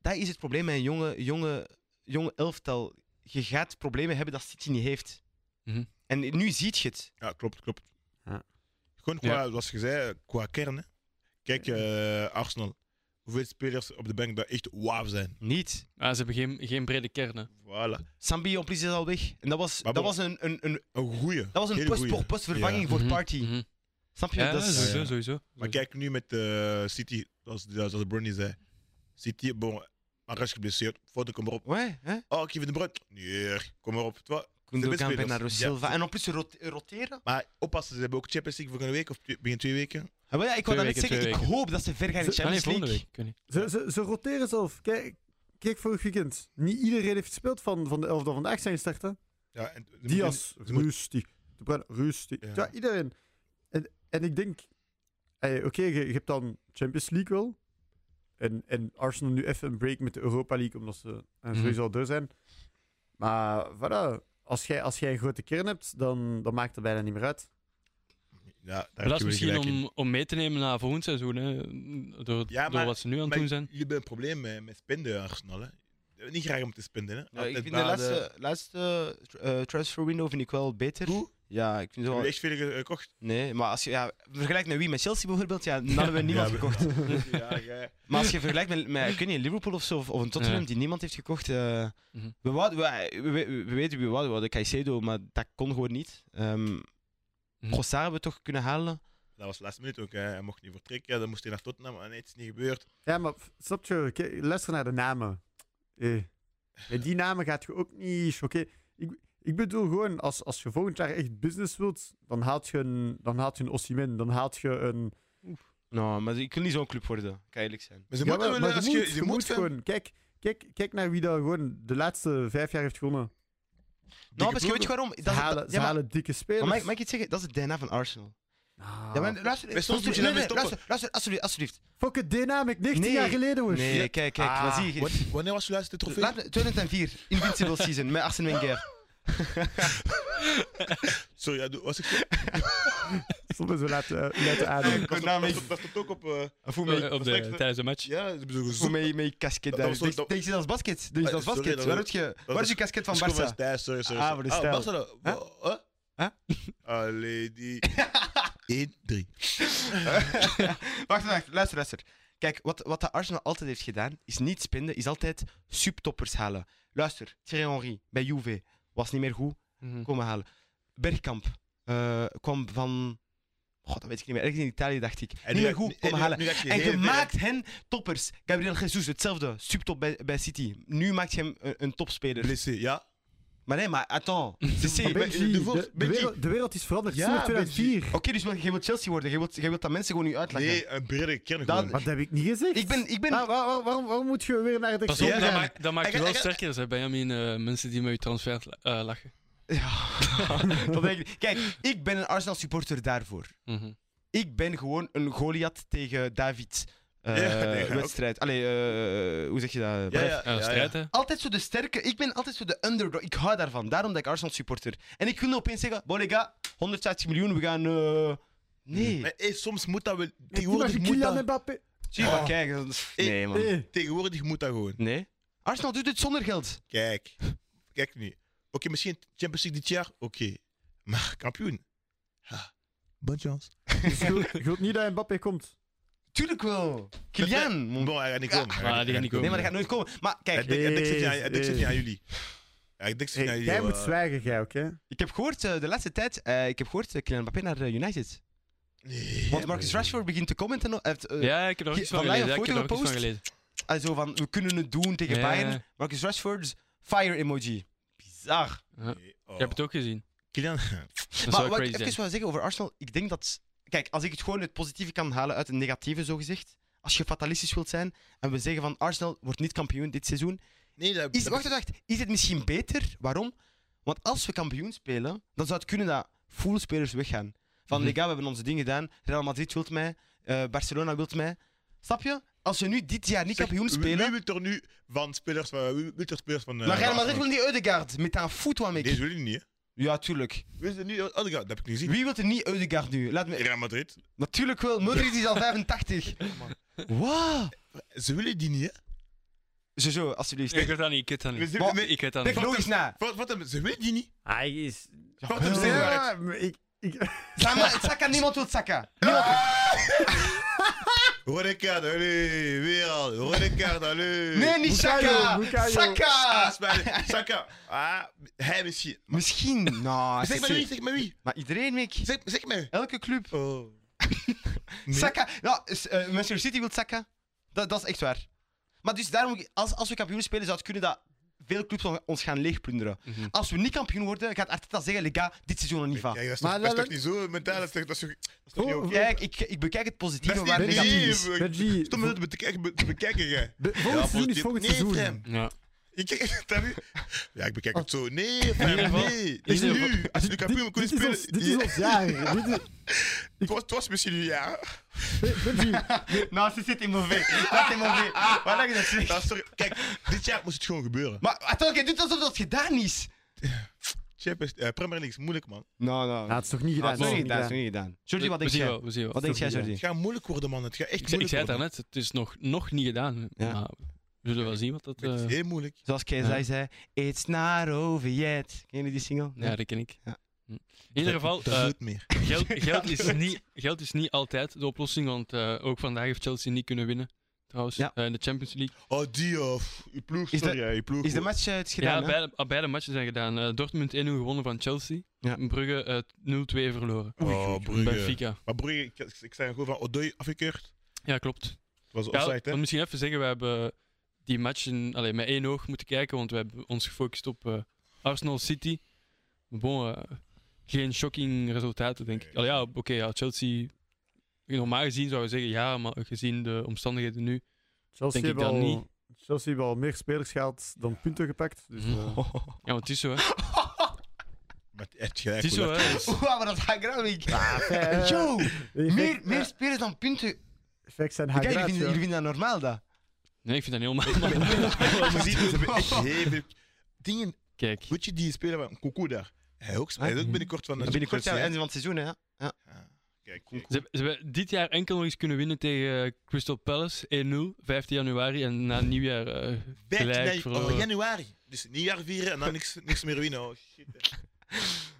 B: dat is het probleem met een jonge, jonge, jonge elftal. Je gaat problemen hebben dat City niet heeft.
A: Mhm.
B: En nu ziet je het.
D: Ja, klopt, klopt.
E: Ja.
D: Gewoon qua, zoals je zei, qua kern. Hè. Kijk, eh, Arsenal. Hoeveel spelers op de bank dat echt wauw zijn.
B: Niet.
A: Maar Ah, ze hebben geen, geen brede kernen.
D: Voilà.
B: Sambi Omplis is al weg. En dat was,
D: Maar
B: dat
D: bon.
B: was een, een, een,
D: Een goeie.
B: dat was een
D: Hele
B: post
D: goeie.
B: voor post vervanging
D: Ja.
B: voor Party.
A: Mhm.
B: Snap je?
A: Ja,
B: dat is,
A: sowieso,
D: Ja, ja.
A: sowieso. Ah,
D: Maar kijk nu met eh, City, zoals, zoals Brony zei. City, bon, Mares geblesseerd. Foden, kom maar op.
B: Ouais, hè?
D: Oh, Kevin de Bruyne. Nee, kom maar op. Twa- beste
B: Gundogan,
D: spelers.
B: Bernardo
D: Ja.
B: Silva. En op plus rot- roteren.
D: Maar oppassen, ze hebben ook Champions League volgende week of twee- binnen twee weken.
B: Ah, wel ja, ik wou
A: Twee
B: dat net
A: weken,
B: zeggen.
A: twee
B: Ik hoop dat ze ver gaan in de
A: Ah, nee,
B: Champions
A: volgende
B: League.
A: week. Ik weet niet.
C: Ze, ze, ze roteren zelf. Kijk, kijk vorig weekend. Niet iedereen heeft gespeeld van, van de elf dat vandaag zijn gestart. Hè?
D: Ja, en, ze
C: Diaz,
D: moeten- ze moeten-
C: rustig. De Bruyne, rustig. Ja,
D: Ja.
C: iedereen. En, en ik denk... ey, Oké, je, je hebt dan Champions League wel. En, en Arsenal nu even een break met de Europa League, omdat ze eh,
A: Mhm.
C: sowieso al door zijn. Maar voilà, als jij, als jij een grote kern hebt, dan, dan maakt het bijna niet meer uit.
D: ja, daar
A: Maar dat is
D: heb je
A: misschien
D: gelijk in.
A: om, om mee te nemen naar volgend seizoen, hè. Door,
D: Ja,
A: door
D: maar-
A: wat ze nu aan het
D: Maar
A: doen zijn.
D: jullie hebben een probleem met, met spenden, Arsenal. Hè. Niet graag om te spenden. Hè.
B: Ja, ik
D: Altijd
B: vind de
D: baden.
B: laatste, laatste eh, transfer window vind ik wel beter.
D: Goed?
B: Ja, ik vind het
D: Hebben
B: wel...
D: jullie echt veel ge- gekocht?
B: Nee, maar als je... Ja, vergelijkt met wie? Met Chelsea bijvoorbeeld? Ja, dan hebben we niemand
D: Ja, we-
B: gekocht.
D: ja, jij.
B: Maar als je vergelijkt met, met ik weet niet, Liverpool of zo, of, of een Tottenham
A: Ja.
B: die niemand heeft gekocht. eh,
A: Mhm.
B: we, wouden- we, we, we- we weten wie we hadden, we hadden Caicedo, maar dat kon gewoon niet. Ehm
A: Mhm.
B: Trossard hebben we toch kunnen halen.
D: Dat was laatste minuut ook. Hè. Hij mocht niet vertrekken. Ja, dan moest hij naar Tottenham. En nee, het is niet gebeurd.
C: Ja, maar f- snap je? K- Luister naar de namen. Eh, Met die namen gaat je ook niet... Oké, ik, Ik bedoel gewoon, als, als je volgend jaar echt business wilt, dan haalt je een, dan haalt je een Osimhen, dan haalt je een...
B: Nou, maar ik wil niet zo'n club worden, kan eerlijk zijn.
D: Maar ze
C: Ja,
D: moeten
C: maar-
D: wel,
C: maar
D: als
C: je
D: je,
C: moet,
D: je
C: je
D: moet
C: moet
D: van-
C: gewoon... Kijk, kijk, kijk naar wie daar gewoon de laatste vijf jaar heeft gewonnen.
B: Nou, misschien weet je waarom? Dat
C: Ze
B: is-
C: halen,
B: dat-
C: ze
B: ja, maar-
C: halen dikke spelers.
B: maar mag, mag ik iets zeggen? Dat is het DNA van Arsenal.
C: Ah.
B: Ja, maar luister,
D: Maar soms moet je
B: nee,
D: daarmee
B: nee,
D: stoppen.
B: luister, luister, alsjeblieft, alsjeblieft.
C: Fuck it, dynamic, 19
B: Nee.
C: jaar geleden, hoor.
B: Nee, kijk, kijk,
C: Ah.
B: maar zie je.
D: Wa- Wanneer was je laatste trofee?
B: Laat me- 2004, Invincible Season, met Arsene Wenger.
D: Sorry, ja, doe- was ik zo?
C: Zonder zo laten, eh, laten ademen.
D: Was dat- was dat- was dat ook op... eh,
B: Voor
A: Eh,
B: mij,
A: op de,
D: respect-
A: tijdens een match.
D: Ja, ik bedoel,
B: voor
D: zo.
B: mij, mijn casket
D: Dat
B: daar.
D: was toch- dat-
B: Denk je als basket? Denk je
D: Ah,
B: als
D: sorry,
B: basket?
D: dat-
B: Waar heb je- Waar is je casket van
D: Schoen
B: Barca?
D: Stijl, sorry, sorry.
B: Ah,
D: sorry.
B: voor de stijl.
D: Barca, huh?
B: Huh?
D: Allee, die... 1, 3.
B: wacht, wacht, luister, luister. Kijk, wat, wat de Arsenal altijd heeft gedaan, is niet spinden, is altijd subtoppers halen. Luister, Thierry Henry bij Juve was niet meer goed,
A: Mhm.
B: komen halen. Bergkamp eh, kwam van... God, dat weet ik niet meer. Ergens in Italië, dacht ik. niet meer goed, komen halen. En je maakt hen toppers. Gabriel Jesus, hetzelfde. Subtop bij, bij City. Nu maakt je hem een, een topspeler.
D: Blessé, ja.
B: Maar nee, maar attends. CC,
C: Maar
B: maar-
C: Benji,
D: de voor-
C: de, de,
D: Benji.
C: wereld, de wereld is veranderd.
D: Ja,
C: Sinds 2004.
B: Oké, dus maar jij wilt Chelsea worden. Jij wilt, jij wilt dat mensen gewoon nu uitlachen.
D: Nee, een bredere kern
B: Dan-
D: gewoon.
C: Wat heb ik niet gezegd?
B: Ik ben... Ik ben
C: Waar- waar- waar- Nou, waarom, waarom moet je weer naar het
A: Pas
C: extra?
A: op,
D: Ja,
A: dat,
D: ja.
A: maakt- dat maakt je
D: Ik-
A: wel
D: ik-
A: sterker, hè, Benjamin. eh, mensen die met je transfer eh, lachen.
B: Ja,
D: Ah.
B: dat denk ik. Kijk, ik ben een Arsenal supporter daarvoor.
A: Mhm.
B: Ik ben gewoon een Goliath tegen David eh,
D: Ja, nee, ook.
B: wedstrijd. Allee, eh, hoe zeg je dat?
D: Ja, ja,
A: Eh,
D: ja, ja.
A: strijd, hè.
B: Altijd zo de sterke. Ik ben altijd zo de underdog. Ik hou daarvan. Daarom dat ik Arsenal supporter. En ik wil nu opeens zeggen, Bolega, 150 miljoen, we gaan... eh, Nee.
D: Maar hey, soms moet dat wel...
C: Maar
D: Tegenwoordig moet
C: Kylian
D: dat...
C: Mbappé.
B: Zie je, maar kijk. dat is- Nee, man.
C: Nee.
D: Tegenwoordig moet dat gewoon.
B: Nee. Arsenal doet het zonder geld.
D: Kijk. Kijk nu. Oké, misschien Champions League dit jaar. Oké. Maar kampioen. Ha. Bonne chance.
C: Dus je wilt- je wilt niet dat Mbappé komt.
B: Tuurlijk wel. Kylian. mon-
D: Bon, hij gaat niet komen. Hij
A: Ah, die
D: hij
A: gaat niet
B: Nee,
A: komen.
B: maar dat gaat nooit komen. Maar kijk,
D: Hij denkt- hij denkt zit niet aan- hij denkt zit niet aan jullie. Hij denkt zit niet aan
C: Hey,
D: jullie.
C: jij moet
D: eh,
C: zwijgen, jij ook, hè?
B: Ik heb gehoord eh, de laatste tijd, eh, ik heb gehoord eh, Kylian Mbappé naar eh, United.
D: nee.
B: Want Marcus Rashford begint te commenten. eh, heeft, eh,
A: Ja, ik heb er ook iets van
B: Van Leyen
A: gelezen. ja, Ik
B: foto
A: heb er ook iets van
B: gepost?
A: gelezen.
B: eh, zo van, we kunnen het doen tegen
A: Ja.
B: Bayern. Marcus Rashford's fire emoji. Bizar.
D: Nee, oh.
A: Je hebt het ook gezien.
D: Kylian.
A: Dat is
B: maar
A: wel
B: wat ik
A: crazy.
B: even
A: zijn.
B: wil zeggen over Arsenal, ik denk dat... Kijk, als ik het gewoon het positieve kan halen uit het negatieve, zogezegd. Als je fatalistisch wilt zijn en we zeggen van Arsenal wordt niet kampioen dit seizoen.
D: Nee, dat,
B: Is,
D: dat-
B: wacht, wacht, wacht. Is het misschien beter? Waarom? Want als we kampioen spelen, dan zou het kunnen dat full spelers weggaan. Van
A: Mhm.
B: Liga, we hebben onze dingen gedaan. Real Madrid wilt mij. eh, Barcelona wilt mij. Snap je? Als we nu dit jaar niet
D: Zeg,
B: kampioen
D: wie-
B: spelen...
D: Wie wil er nu van spelers van. Wie wil er spelers van. eh,
B: maar Real
D: Arsenal?
B: Madrid wil niet Eudegaard. Met een voet wat
D: Deze
B: ik.
D: wil je niet, hè?
B: Ja, tuurlijk.
D: Wie is er niet? Oh, dat heb ik niet gezien.
B: Wie wil er niet Eudegaard nu? Laat me...
D: Real Madrid.
B: Natuurlijk wel. Modric is al 85. Wow.
D: Ze willen die niet, hè?
B: Zo, alsjeblieft.
A: Ik weet dat niet, ik weet dat
D: We
A: niet.
D: zien-
B: Maar-
D: nee,
A: Ik weet dat
B: Denk
A: niet.
B: logisch na.
D: Wat, wat, hem- ze willen die niet.
E: Hij is...
D: Wat hem zeg maar het.
C: maar ik, ik,
B: Sama, Saka, niemand wil Saka.
D: Rode kaart, allee, weer al. Rode kaart, allee.
B: Nee, niet
C: Bukayo,
B: Saka.
C: Bukayo.
B: Saka.
D: Ah, spijt. Saka. Ah, hij misschien. Maar-
B: Misschien. Nou,
D: Zeg maar
B: CC.
D: wie, zeg maar wie.
B: Maar iedereen, Mick.
D: Zeg, zeg maar.
B: Elke club.
D: Oh. Nee.
B: Saka. Ja, s- eh, Manchester City wil Saka. Dat, dat is echt waar. Maar dus daarom, als, als we kampioen spelen, zou het kunnen dat veel clubs on- ons gaan leegplunderen.
A: Mhm.
B: Als we niet kampioen worden, gaat Arteta zeggen, les gars, dit seizoen nog niet
D: Kijk,
B: van.
D: dat is toch,
C: Maar
D: dat is
C: dat-
D: toch niet zo mentaal? Dat is toch- dat is toch- dat is toch
C: Oh,
D: niet oké?
B: Kijk, ik, ik bekijk het positieve
D: Dat is
B: waar
D: niet
B: het negatief is.
D: negatief.
C: Benji,
D: Stom om dat te bekijken- te bekijken, jij.
C: de- volgend seizoen is
D: positief.
C: volgend
D: Nee,
C: seizoen.
D: Prem.
A: Ja.
D: Ik kijk, dat nu- ja, ik bekijk het zo. Nee, Prem,
A: geval-
D: nee.
A: in
D: Als je
A: ieder
D: nu, als je nu kampioen
C: dit,
D: kunt
C: dit, is
D: spelen.
C: ons, dit is ons jaar. Dit is-
D: Het was- het was misschien nu, ja.
C: Benji,
B: Nou, ze zit in mijn weg. Laat in mijn weg. Waar lag je dat slecht?
D: Nou, sorry. Kijk, dit jaar moest het gewoon gebeuren.
B: Maar attends, jij doet alsof dat gedaan is.
D: Champions, eh, Premier League is moeilijk, man.
B: Nou, nou.
C: Ah, het is nog niet
B: Dat
C: gedaan.
B: is nog niet gedaan.
C: het is
B: dat is nog niet gedaan. Jordi,
A: We- we
B: wat denk
A: zien
B: jij?
A: wel, we zien wel.
B: Wat denk jij,
C: Sorry, ja.
B: Jordi?
D: Het gaat moeilijk worden, man. Het gaat echt
A: Ik, zei- ik
D: moeilijk
A: zei het
D: worden.
A: daarnet, het is nog, nog niet gedaan.
B: Ja.
A: Maar we zullen wel zien wat dat...
D: Het
A: eh,
D: is heel moeilijk.
B: Zoals Keizer zei, it's not over yet. Ken je die single?
A: Ja, dat ken ik.
B: Ja.
A: Hm. In ieder geval,
D: Dat
A: eh,
D: doet meer.
A: geld, geld, is niet, geld is niet altijd de oplossing, want eh, ook vandaag heeft Chelsea niet kunnen winnen. Trouwens,
B: Ja.
A: Eh, in de Champions League.
D: Oh, die of... Je ploeg,
B: Is
D: sorry, hè, je ploeg.
B: Is de match eh, het is
A: ja,
B: gedaan? hè?
A: beide, ah, beide matchen zijn gedaan. Eh, Dortmund 1-0 gewonnen van Chelsea.
B: Ja.
A: Brugge eh, 0-2 verloren.
D: Oh, Brugge.
A: Benfica.
D: Maar Brugge, ik, ik zei gewoon van Odoi afgekeurd.
A: Ja, klopt.
D: Het was
A: Ja,
D: offside,
A: maar
D: hè.
A: misschien even zeggen, we hebben die match in, allee, met één oog moeten kijken, want we hebben ons gefocust op eh, Arsenal City. Maar bon, eh, geen shocking resultaten, denk ik. Al ja, oké, ja, Chelsea... Normaal gezien zou je zeggen ja, maar gezien de omstandigheden nu...
C: Chelsea
A: Denk ik
C: hebben
A: dan
C: al-
A: niet.
C: Chelsea heeft al meer spelers gehaald dan punten gepakt. Dus,
A: Mhm.
C: eh,
A: Ja, want het is zo, hè.
D: Maar echt
A: Het
D: gelijk.
A: is zo,
D: hoor.
A: hè.
B: Oeh, maar dat Hagraoui.
C: eh,
B: Yo,
C: effect-
B: meer,
C: eh,
B: meer spelers dan punten.
C: effect zijn
B: Kijk, jullie
C: Hagraat,
B: vinden,
C: ja.
B: jullie vinden dat normaal, dat?
A: Nee, ik vind dat heel normaal.
D: Maar die- Ze hebben echt heel veel dingen.
A: Kijk.
D: Weet je, die speler van Koeko daar. Hij ook, hij is ook binnenkort van de
B: Binnenkort, ja,
D: Chelsea,
B: einde van het seizoen, hè.
D: hè? Ah, Kijk,
A: Ze, hebben- ze hebben dit jaar enkel nog eens kunnen winnen tegen eh, Crystal Palace 1-0, 15 januari. En na nieuwjaar eh, gelijk
D: 13 oh,
A: verloren.
D: januari. Dus nieuwjaar vieren en dan niks, niks meer winnen. Oh, shit. hè.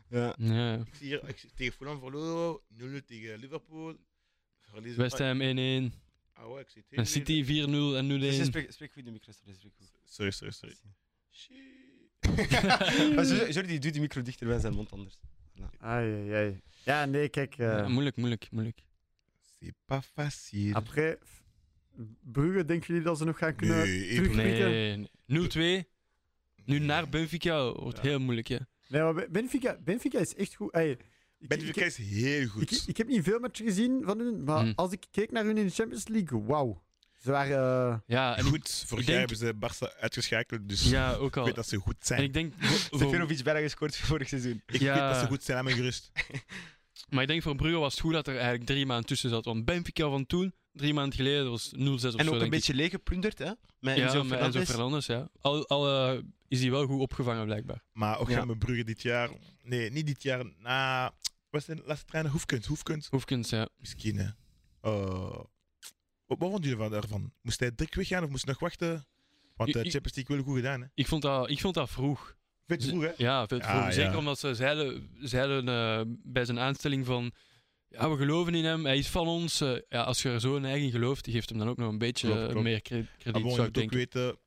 B: Dus
A: Ja.
D: Ik zie hier, ik zie tegen Fulham verloren, 0-0 tegen Liverpool. Verliezen.
A: West Ham 1-1,
D: Ah, ja, ik zie het
A: en
D: heel
A: City 4-0 en 0-1.
B: Spreek, spreek goed de micro, spreek goed.
D: niet. Sorry, sorry, sorry. Shit.
B: Maar Jordi- Jordi doet die micro dichter bij zijn mond anders.
C: Ai, ai, ai. Ja, nee, kijk. eh,
A: Ja, moeilijk, moeilijk, moeilijk.
D: C'est pas facile.
C: après, f- Brugge, denken jullie dat ze nog gaan kunnen
D: Ah, Nee, ik-
C: terugpikken?
A: Nee,
C: Nee,
A: nee. 0-2. Nu naar Benfica wordt heel moeilijk, hè.
C: maar Be- Benfica, Benfica is echt goed. Ai, ik,
D: Benfica
C: ik,
D: is heel
C: ik,
D: goed.
C: ik heb niet veel matchen gezien van hun, maar
A: Hmm.
C: als ik keek naar hun in de Champions League, wauw. Ze waren... eh,
A: Ja, en ik-
D: Goed, vorig
A: denk-
D: jaar hebben ze Barça uitgeschakeld, dus
A: ja, ook
D: ik
A: al.
D: weet dat ze goed zijn.
A: En ik
D: Ik,
A: denk, voor- voor-
B: Seferovic bijna gescoord vorig seizoen.
A: ja.
D: weet dat ze goed zijn, laat me gerust.
A: maar ik denk voor Brugge was het goed dat er eigenlijk drie maanden tussen zat. Want Benfica van toen, drie maanden geleden, was 0-6 of zo,
B: En ook
A: denk
B: een
A: ik.
B: beetje leeggeplunderd, hè? Met
A: Ja,
B: Enzo
A: met Enzo
B: Fernandez.
A: Fernandes, ja. Al, al eh, is hij wel goed opgevangen, blijkbaar.
D: Maar ook
B: Ja.
D: gaan we Brugge dit jaar... Nee, niet dit jaar. Na... Wat is de laatste trainer? Hoefkens, Hoefkens.
A: Hoefkens, ja.
D: Misschien, hè. Oh. Wat wat vonden jullie van- daarvan? Moest hij direct weggaan of moest hij nog wachten? Want
A: Ik-
D: de
A: ik-
D: Champions League wel goed gedaan, hè. Dus
A: Ik vond dat, ik vond dat vroeg.
D: Vet
A: Ze-
D: vroeg, hè.
A: Ja, veel te
D: Ja,
A: vroeg.
D: ja.
A: Zeker omdat ze zeiden, zeiden eh, bij zijn aanstelling van... Ja, we geloven in hem, hij is van ons. Eh, ja, als je er zo een eigen gelooft, die geeft hem dan ook nog een beetje
D: Klopt,
A: eh,
D: klopt.
A: meer cre-
D: Maar
A: krediet,
D: bon, je
A: zou ik
D: moet ook
A: denken.
D: weten...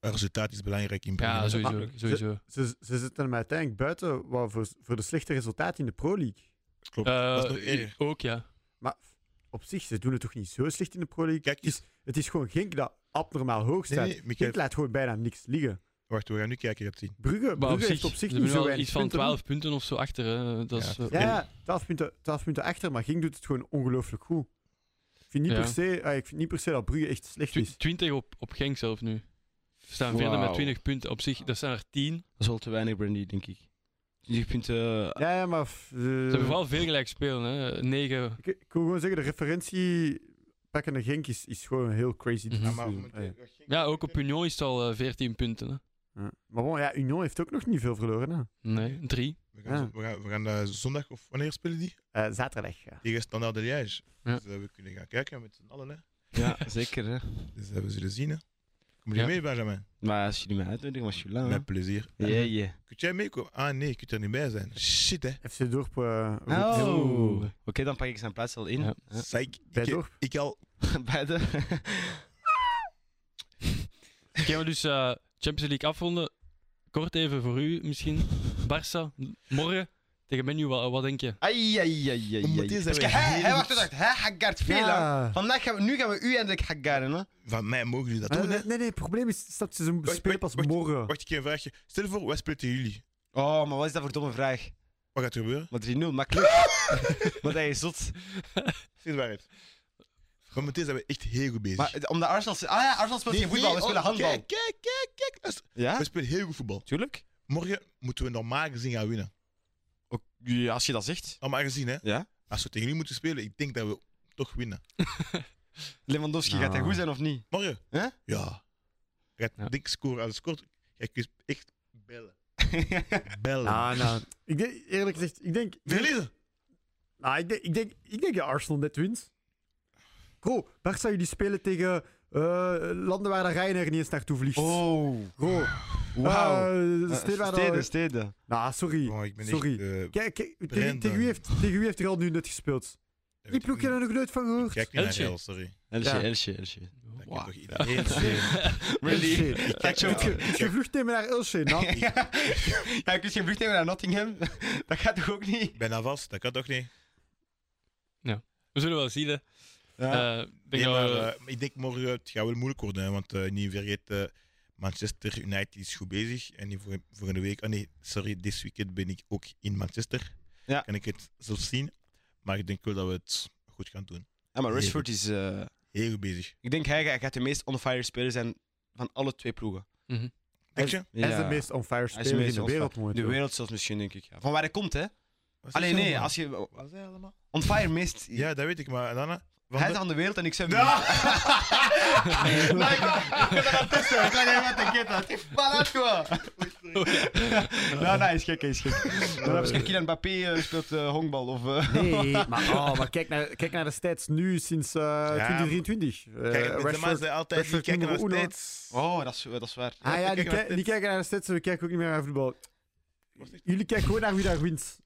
D: Het resultaat is belangrijk in Ah, Brugge.
A: Ja,
D: hè.
A: sowieso.
C: makkelijk.
A: sowieso.
C: ze, ze zitten hem uiteindelijk buiten wat voor, voor de slechte resultaten in de Pro League.
D: Klopt.
A: Eh,
D: dat is nog erger.
A: ook, ja.
C: Maar op zich, ze doen het toch niet zo slecht in de Pro League?
D: Kijk,
C: het, is, het is gewoon Genk dat abnormaal hoog
D: Nee,
C: staat.
D: nee, Michael,
C: Genk laat gewoon bijna niks liggen.
D: wacht, we gaan nu kijken, je hebt zien.
C: Brugge,
A: Maar
C: Brugge heeft op zich
A: ze
C: niet
A: hebben
C: zo
A: wel
C: weinig
A: iets van
C: punten.
A: 12 punten of zo achter. Hè. Dat
D: Ja,
A: is, eh,
C: Ja, ja, 12 punten, 12 punten achter, maar Genk doet het gewoon ongelooflijk goed. Ik vind niet,
A: Ja.
C: per se, ah, ik vind niet per se dat Brugge echt slecht
A: tw-
C: is.
A: 20 op, op Genk zelf nu. Ze staan verder met
B: Wauw.
A: 20 punten. Op zich, dat zijn er 10.
B: Dat is wel te weinig, Brandy, denk ik. 20 punten.
C: Ja, ja, maar... f- eh,
A: Ze hebben vooral veel gelijk spelen, hè. 9.
C: ik, ik wil gewoon zeggen, de referentie pakkende Genk is, is gewoon heel crazy. dit
A: Mhm. Ja,
C: seizoen. Ah, ja.
A: Ja, ook op Union is het al eh, 14 punten. Hè.
C: Ja. Maar bon, ja, Union heeft ook nog niet veel verloren. Hè.
A: Nee, 3.
D: We gaan,
C: Ja.
D: we gaan, we gaan eh, zondag, of wanneer spelen die?
C: Eh, zaterdag, ja.
D: Tegen Standaard de Liège.
A: Ja.
D: Dus eh, we kunnen gaan kijken met z'n allen, hè.
B: Ja, zeker. Hè.
D: Dus eh, we zullen zien, hè. Kom je
A: Ja.
D: mee, Benjamin?
B: Maar als jullie mij uitnodigen, was je lang.
D: Met plezier.
B: Ja, ja.
D: Kun jij meekomen? Ah nee, je kunt er niet bij zijn. Shit, hè.
C: FC Dorp... eh, roept-
B: Oh. Oké, dan pak ik zijn plaats al in.
A: Ja.
B: Huh?
D: Psych.
C: Bij
D: Ik,
C: Dorp.
D: ik al...
B: Beide.
A: Gaan we dus eh, Champions League afronden? Kort even voor u misschien. Barça, m- morgen tegen Menu, wat, wat denk je?
B: Ai, ai, ai, ai,
D: Momenteel
B: ai.
D: zijn we
B: Hij-
D: heel
B: Hij
D: goed.
B: wacht, wacht, wacht. Hij hakkert veel, hè.
C: Ja.
B: Vandaag gaan we, nu gaan we u eindelijk hakkaren, hè.
D: Van mij mogen jullie dat
C: Ah,
D: doen, hè.
C: nee, nee, nee, het probleem is, snap je, ze
D: wacht,
C: spelen pas
D: wacht.
C: morgen.
D: Wacht, ik heb een vraagje. Stel je voor, wij spelen tegen jullie.
B: Oh, maar wat is dat voor domme vraag?
D: Wat gaat er gebeuren?
B: Maar 3-0, makkelijk. maar dat is zot.
D: Zeg de waarheid. Momenteel zijn we echt heel goed bezig.
B: Maar eh, omdat Arsenal... Ah ja, Arsenal speelt
D: Nee,
B: geen voetbal, we
D: nee,
B: spelen
D: oh,
B: handbal. Dus-
D: Kijk, kijk, kijk, kijk. luister.
B: Ja?
D: We spelen heel goed voetbal.
B: Tuurlijk.
D: Morgen moeten we normaal gezien gaan winnen.
B: Ook, ja, als je dat zegt.
D: Normaal gezien, hè.
B: Ja?
D: Als we tegen jullie moeten spelen, ik denk dat we toch winnen.
B: Lewandowski, gaat hij
C: Nou.
B: goed zijn of niet?
D: Morgen?
B: Hè?
D: Ja. Je gaat
A: Ja.
D: dik scoren. Als het scoort, jij kunt echt bellen. Bellen.
C: Ah, nou, ik denk, eerlijk gezegd, ik denk...
D: Verliezen.
C: Nou, ik denk, ik denk, ik denk dat Arsenal net wint. Bro, Barça, jullie spelen tegen eh, landen waar de Ryanair niet eens naartoe vliegt.
B: oh,
C: Bro,
B: wauw.
C: eh,
B: Eh,
C: steden waar dat-
B: steden, steden.
C: Nou, sorry.
D: Oh, ik ben
C: sorry.
D: echt... eh,
C: Kijk, kijk, tegen,
D: Brandon.
C: tegen, wie heeft, tegen wie heeft er al nu net gespeeld?
D: weet
C: Die
D: ik
C: ploeg heb er nog nooit van gehoord.
D: Kijk niet naar
A: Elche.
D: Real, sorry.
B: Elsje,
C: Ja.
B: Elsje, Elsje.
D: Dat kan
A: Wow.
D: toch iedereen zeggen.
B: Really?
C: Elche.
B: Kijk zo.
C: Moet je- moet je vlucht nemen naar Elche, nou?
B: Ja, kun je vlucht nemen naar Nottingham? dat gaat toch ook niet?
D: Bijna vast, dat kan toch niet?
A: We zullen wel zien. Hè. Eh, ik denk
D: Nee,
A: dat
D: maar,
A: we-
D: eh, ik denk morgen, het gaat wel moeilijk worden, hè, want eh, niet vergeet... eh, Manchester United is goed bezig. En die voor, volgende week, ah nee, sorry, dit weekend ben ik ook in Manchester.
B: Ja.
D: Kan ik het zelf zien. Maar ik denk wel dat we het goed gaan doen.
B: Ja, maar Rashford is... eh,
D: Heel goed bezig.
B: ik denk hij, hij gaat de meest on-fire speler zijn van alle twee ploegen.
D: Denk je?
C: Hij is
B: Ja.
C: de meest on-fire
B: Hij is
C: speler in
B: meest
C: de wereld
B: on-fire.
C: momenteel.
B: De wereld zelfs misschien, denk ik. Ja. Van waar hij komt, hè?
D: Wat is
B: Alleen
D: dat
B: nee,
D: allemaal?
B: als je
D: Wat is dat allemaal?
B: on-fire mist...
D: Ja, dat weet ik, maar dan... hè, Van
B: hij is
D: de-
B: aan de wereld en ik zeg...
D: Ja.
B: Nee, ik kan dat maar testen. Ik kan even wat ik dat. is balans gewoon. Nou, nee, is gek, is gek. Dan heb je Kylian Mbappé eh, speelt eh, honkbal of... eh,
C: Nee, maar, oh, maar kijk, naar, kijk naar de stats nu sinds eh, 2023. Eh,
D: Kijk, de
C: Rashford-
D: mannen zijn altijd die
C: Rashford
D: kijken naar
C: nummer uno.
D: steeds.
B: Oh, dat is, dat is waar.
C: Ah ja, die,
D: kijken naar
C: ki- die kijken naar de stats en we kijken ook niet meer naar voetbal. Jullie kijken gewoon naar wie daar wint.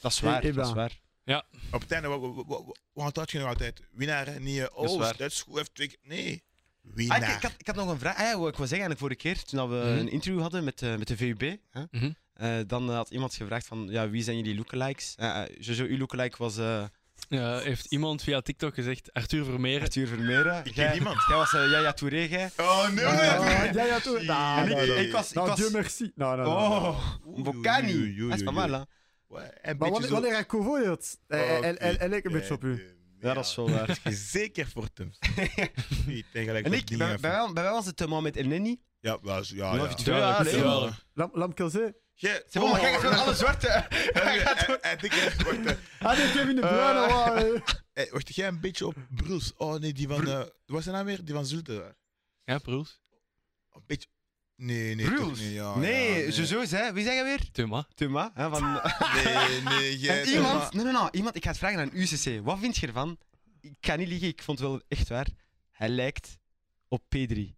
B: Dat is waar,
C: Eba.
B: dat is waar.
D: Op het einde, wat had je nog altijd? Winnaar, hè? niet eh,
B: Dat is
D: oh,
B: waar.
D: dat is goed, heeft twee keer- Nee,
B: Ah, ik, ik
D: winnaar.
B: had, ik had nog een vraag. Ah, ja, wat ik wou zeggen eigenlijk vorige keer, toen dat we
A: Mhm.
B: een interview hadden met, eh, met de VUB, hè,
A: Mhm.
B: eh, dan eh, had iemand gevraagd van, ja, wie zijn jullie lookalikes? Eh eh, Jojo, uw lookalike was eh
A: Ja, heeft iemand via TikTok gezegd, Arthur Vermeer.
B: Arthur Vermeeren.
D: Ik
B: Jij-
D: ken niemand.
B: Jij was eh, Yaya Touré, jij.
D: Oh, nee,
C: Ah,
D: nee, nee.
C: ja, ja, toch. Nou,
D: Ah,
B: En ik-
C: nou, nou.
B: ik was- ik
C: Nou,
B: was-
C: Dieu merci. Nou, nou, nou, nou.
B: Oh,
D: Oei, oei, oei,
B: Bocani.
D: oei,
B: Dat is pas
D: oei,
B: mal,
D: oei.
B: hè.
D: Wa- Een
C: Maar
D: beetje
C: wanneer,
D: zo... Oh,
C: wanneer hij beoordeeld? Hij- hij- hij- hij- Hij eh, lijkt een beetje op u.
B: Ja, dat is wel waar.
D: Zeker voor hem. Niet tegelijk
B: En
D: voor
B: ik,
D: die
B: bij,
D: gaaf.
B: bij, mij- bij mij was het eh, Mohamed El Neni.
D: Ja, was, ja, ja.
B: Love you too.
A: Tuurlijk,
B: Ja,
A: tuurlijk.
D: ja.
C: Lam, Lamkelzee?
D: Je-
B: Ze oh, kijk, gewoon alle zwarte. Hij gaat
D: Eh,
B: gewoon-
D: eh, eh, dikke- wacht, eh.
C: Ah nee, Kevin de Bruyne.
D: Eh.
C: wauw, eh.
D: Eh, Wacht, jij een beetje op Bruls. Oh nee, die van... eh, Wat was zijn naam weer? Die van Zulte.
A: Ja, Broels.
D: Een beetje... Nee, nee.
B: Bruls?
D: toch niet, ja, ja,
B: Nee, Jojo is hè. Wie zeg je weer?
A: Thuma.
B: Thuma. Hè, van...
D: Nee, nee, jij...
B: En iemand, nee, nee, nee, iemand, ik ga het vragen aan UCC. Wat vind je ervan? Ik kan niet liegen, ik vond het wel echt waar. Hij lijkt op P3.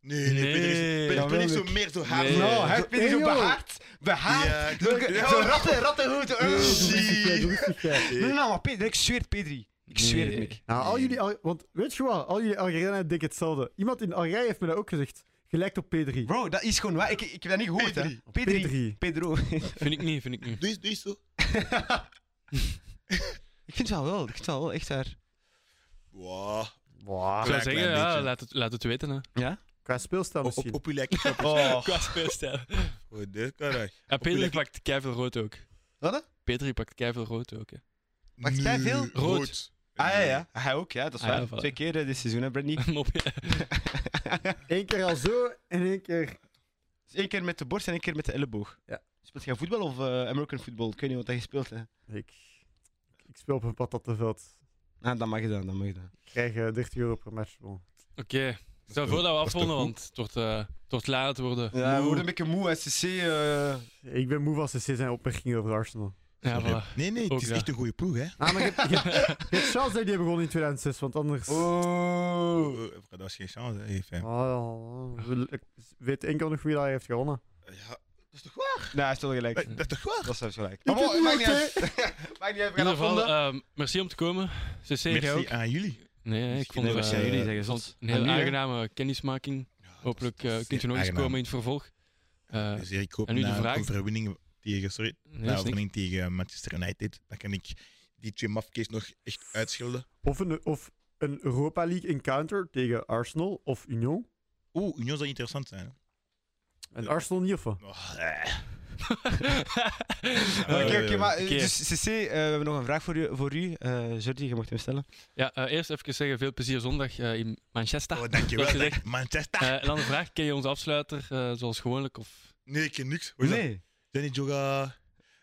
D: Nee, nee, Peter is,
A: Nee,
D: Peter is
C: jawel,
D: niet zo
C: ik-
D: meer zo hard.
A: Nee. Nou,
B: hij
C: hij
B: is
C: heeft Pedri zo
B: behaard.
C: behaard,
D: Ja,
B: Behaard.
D: ik- Zulke- ja.
B: Zo'n
D: zo'n
B: ratten, Oh, rattenhoed.
C: Doe rustig, jij, doe
B: Nee,
C: rustig, jij.
B: nee, nee, maar Pedri, ik zweer het, Pedri. Ik zweer het,
A: Nee.
B: Mick.
C: Nou, al jullie, Al- want weet je wat? Al jullie Algerijnen denken hetzelfde. Iemand in Algerije heeft me dat ook gezegd. Gelijk op P3.
B: Bro, dat is gewoon waar. Ik, ik heb dat niet gehoord, hè. Pedri.
C: P3.
B: Pedro. ik
A: Vind ik niet, vind ik niet.
D: Doe eens, doe eens zo.
B: vind het wel wel, ik vind het wel wel, echt waar.
D: Wow.
C: Ah,
A: Ik zou
D: Klein,
A: zeggen,
D: klein
A: ja,
D: beetje.
A: laat het, laat het weten. Hè.
B: Ja?
C: Qua speelstijl
D: Op, op,
C: misschien.
D: op uw lijkt het
B: Oh.
A: Qua speelstijl.
D: Goed, dit kan hij.
A: En Pedri
D: lekker-
A: pakt keiveel rood ook.
B: Wat, hè?
A: Pedri pakt keiveel rood ook. Hè.
B: Maakt hij veel?
A: Rood.
B: Ah ja, ja. Hij ook, ja, dat is
A: Ah, ja,
B: waar.
A: voilà.
B: Twee keer eh, dit seizoen, hè, Bradley.
A: Mopje.
C: Eén keer al zo en één keer...
B: Eén keer met de borst en één keer met de elleboog.
C: Ja.
B: Speelt jij voetbal of eh, American football? Ik weet niet wat hij speelt, hè.
C: Ik, ik speel op een patattenveld.
B: Ah, dat mag je dan, dat mag je dan.
C: Ik krijg eh, 30 euro per match. bon.
A: Oké, stel
D: toch-
A: voor dat we
D: dat is toch
A: afronden,
D: goed?
A: want het wordt, eh, het wordt laat worden.
B: Ja, we worden een beetje moe, SCC. eh.
C: Ik ben moe van CC zijn opmerkingen over Arsenal.
A: Ja, voilà.
D: Nee, nee,
A: Ook
D: het is
A: ja.
D: echt een goede ploeg, hè.
C: Ah, maar ik heb, ik heb, ik heb chance dat ik die begon in 2006, want anders... Ah,
B: Oh.
D: Oh, dat was geen chance, hè. FM.
C: Oh, wel, ik weet enkel nog wie dat heeft gewonnen.
D: Ja, dat is toch waar?
B: Nee, hij is wel gelijk.
D: Eh, Dat is toch waar?
B: Dat is zelfs gelijk.
C: heb
B: bon,
C: moeite.
B: maakt niet uit. Maakt niet uit, we
A: In ieder
B: gaan
A: geval,
B: afronden.
A: ehm, merci om te komen. CC, jij
D: Merci
A: ook?
D: aan jullie.
A: Nee, ik
D: Misschien
A: vond
D: hebben
A: het
D: ze aan
A: eh,
D: jullie
A: ik
B: zeggen,
A: vond
B: zot.
A: het een heel
B: Aan u, hè?
A: aangename kennismaking. Hopelijk eh, kunt u nog eens komen in het vervolg. Eh,
D: Dus hier, ik hoop
A: en nu de
D: na
A: vraag.
D: overwinning tegen, sorry,
A: nee,
D: na
A: is niks.
D: overwinning tegen Manchester United, dan kan ik die twee mafkees nog echt uitschelden.
C: Of een, of een Europa League encounter tegen Arsenal of Union.
D: Oeh, Union zou interessant zijn. hè.
C: En Arsenal niet of wat?
D: Oh, eh.
B: Oké, oké,
D: eh,
B: maar eh,
A: oké.
B: dus CC, eh, we hebben nog een vraag voor u. Voor u. Eh Jordi, je mag hem stellen.
A: Ja, eh, eerst even zeggen, veel plezier zondag eh, in Manchester.
D: Oh, dankjewel.
A: Zoals gezegd.
D: dank- Manchester.
A: Eh, en dan de vraag, ken je onze afsluiter eh, zoals gewoonlijk? Of...
D: Nee, ik ken niks. Hoe is dat? Zijn die Joga,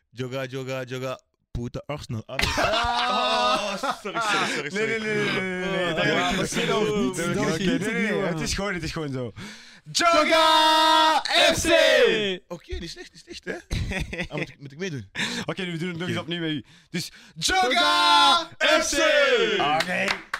D: Joga, Joga, Joga, Poeta Arsenal. Ah, nee. Oh, sorry, sorry, sorry.
B: Nee, nee,
D: sorry.
B: nee, nee, nee, nee, nee.
A: Oh,
B: Dat
A: ja,
B: wil ik
A: dat
B: niet.
A: is
B: Dat wil ik
A: goed.
B: niet.
A: Dat
B: Dat wil
C: wil ik
B: ik
C: niet.
B: niet. Nee, nee, nee,
C: Ja.
B: Het is gewoon, het is gewoon zo. Joga FC!
D: Oké, niet slecht, niet slecht, hè? Ah, moet, ik, moet ik meedoen?
B: Oké, nu doen we het nog
D: Oké.
B: eens opnieuw met u. Dus Joga FC! Oké.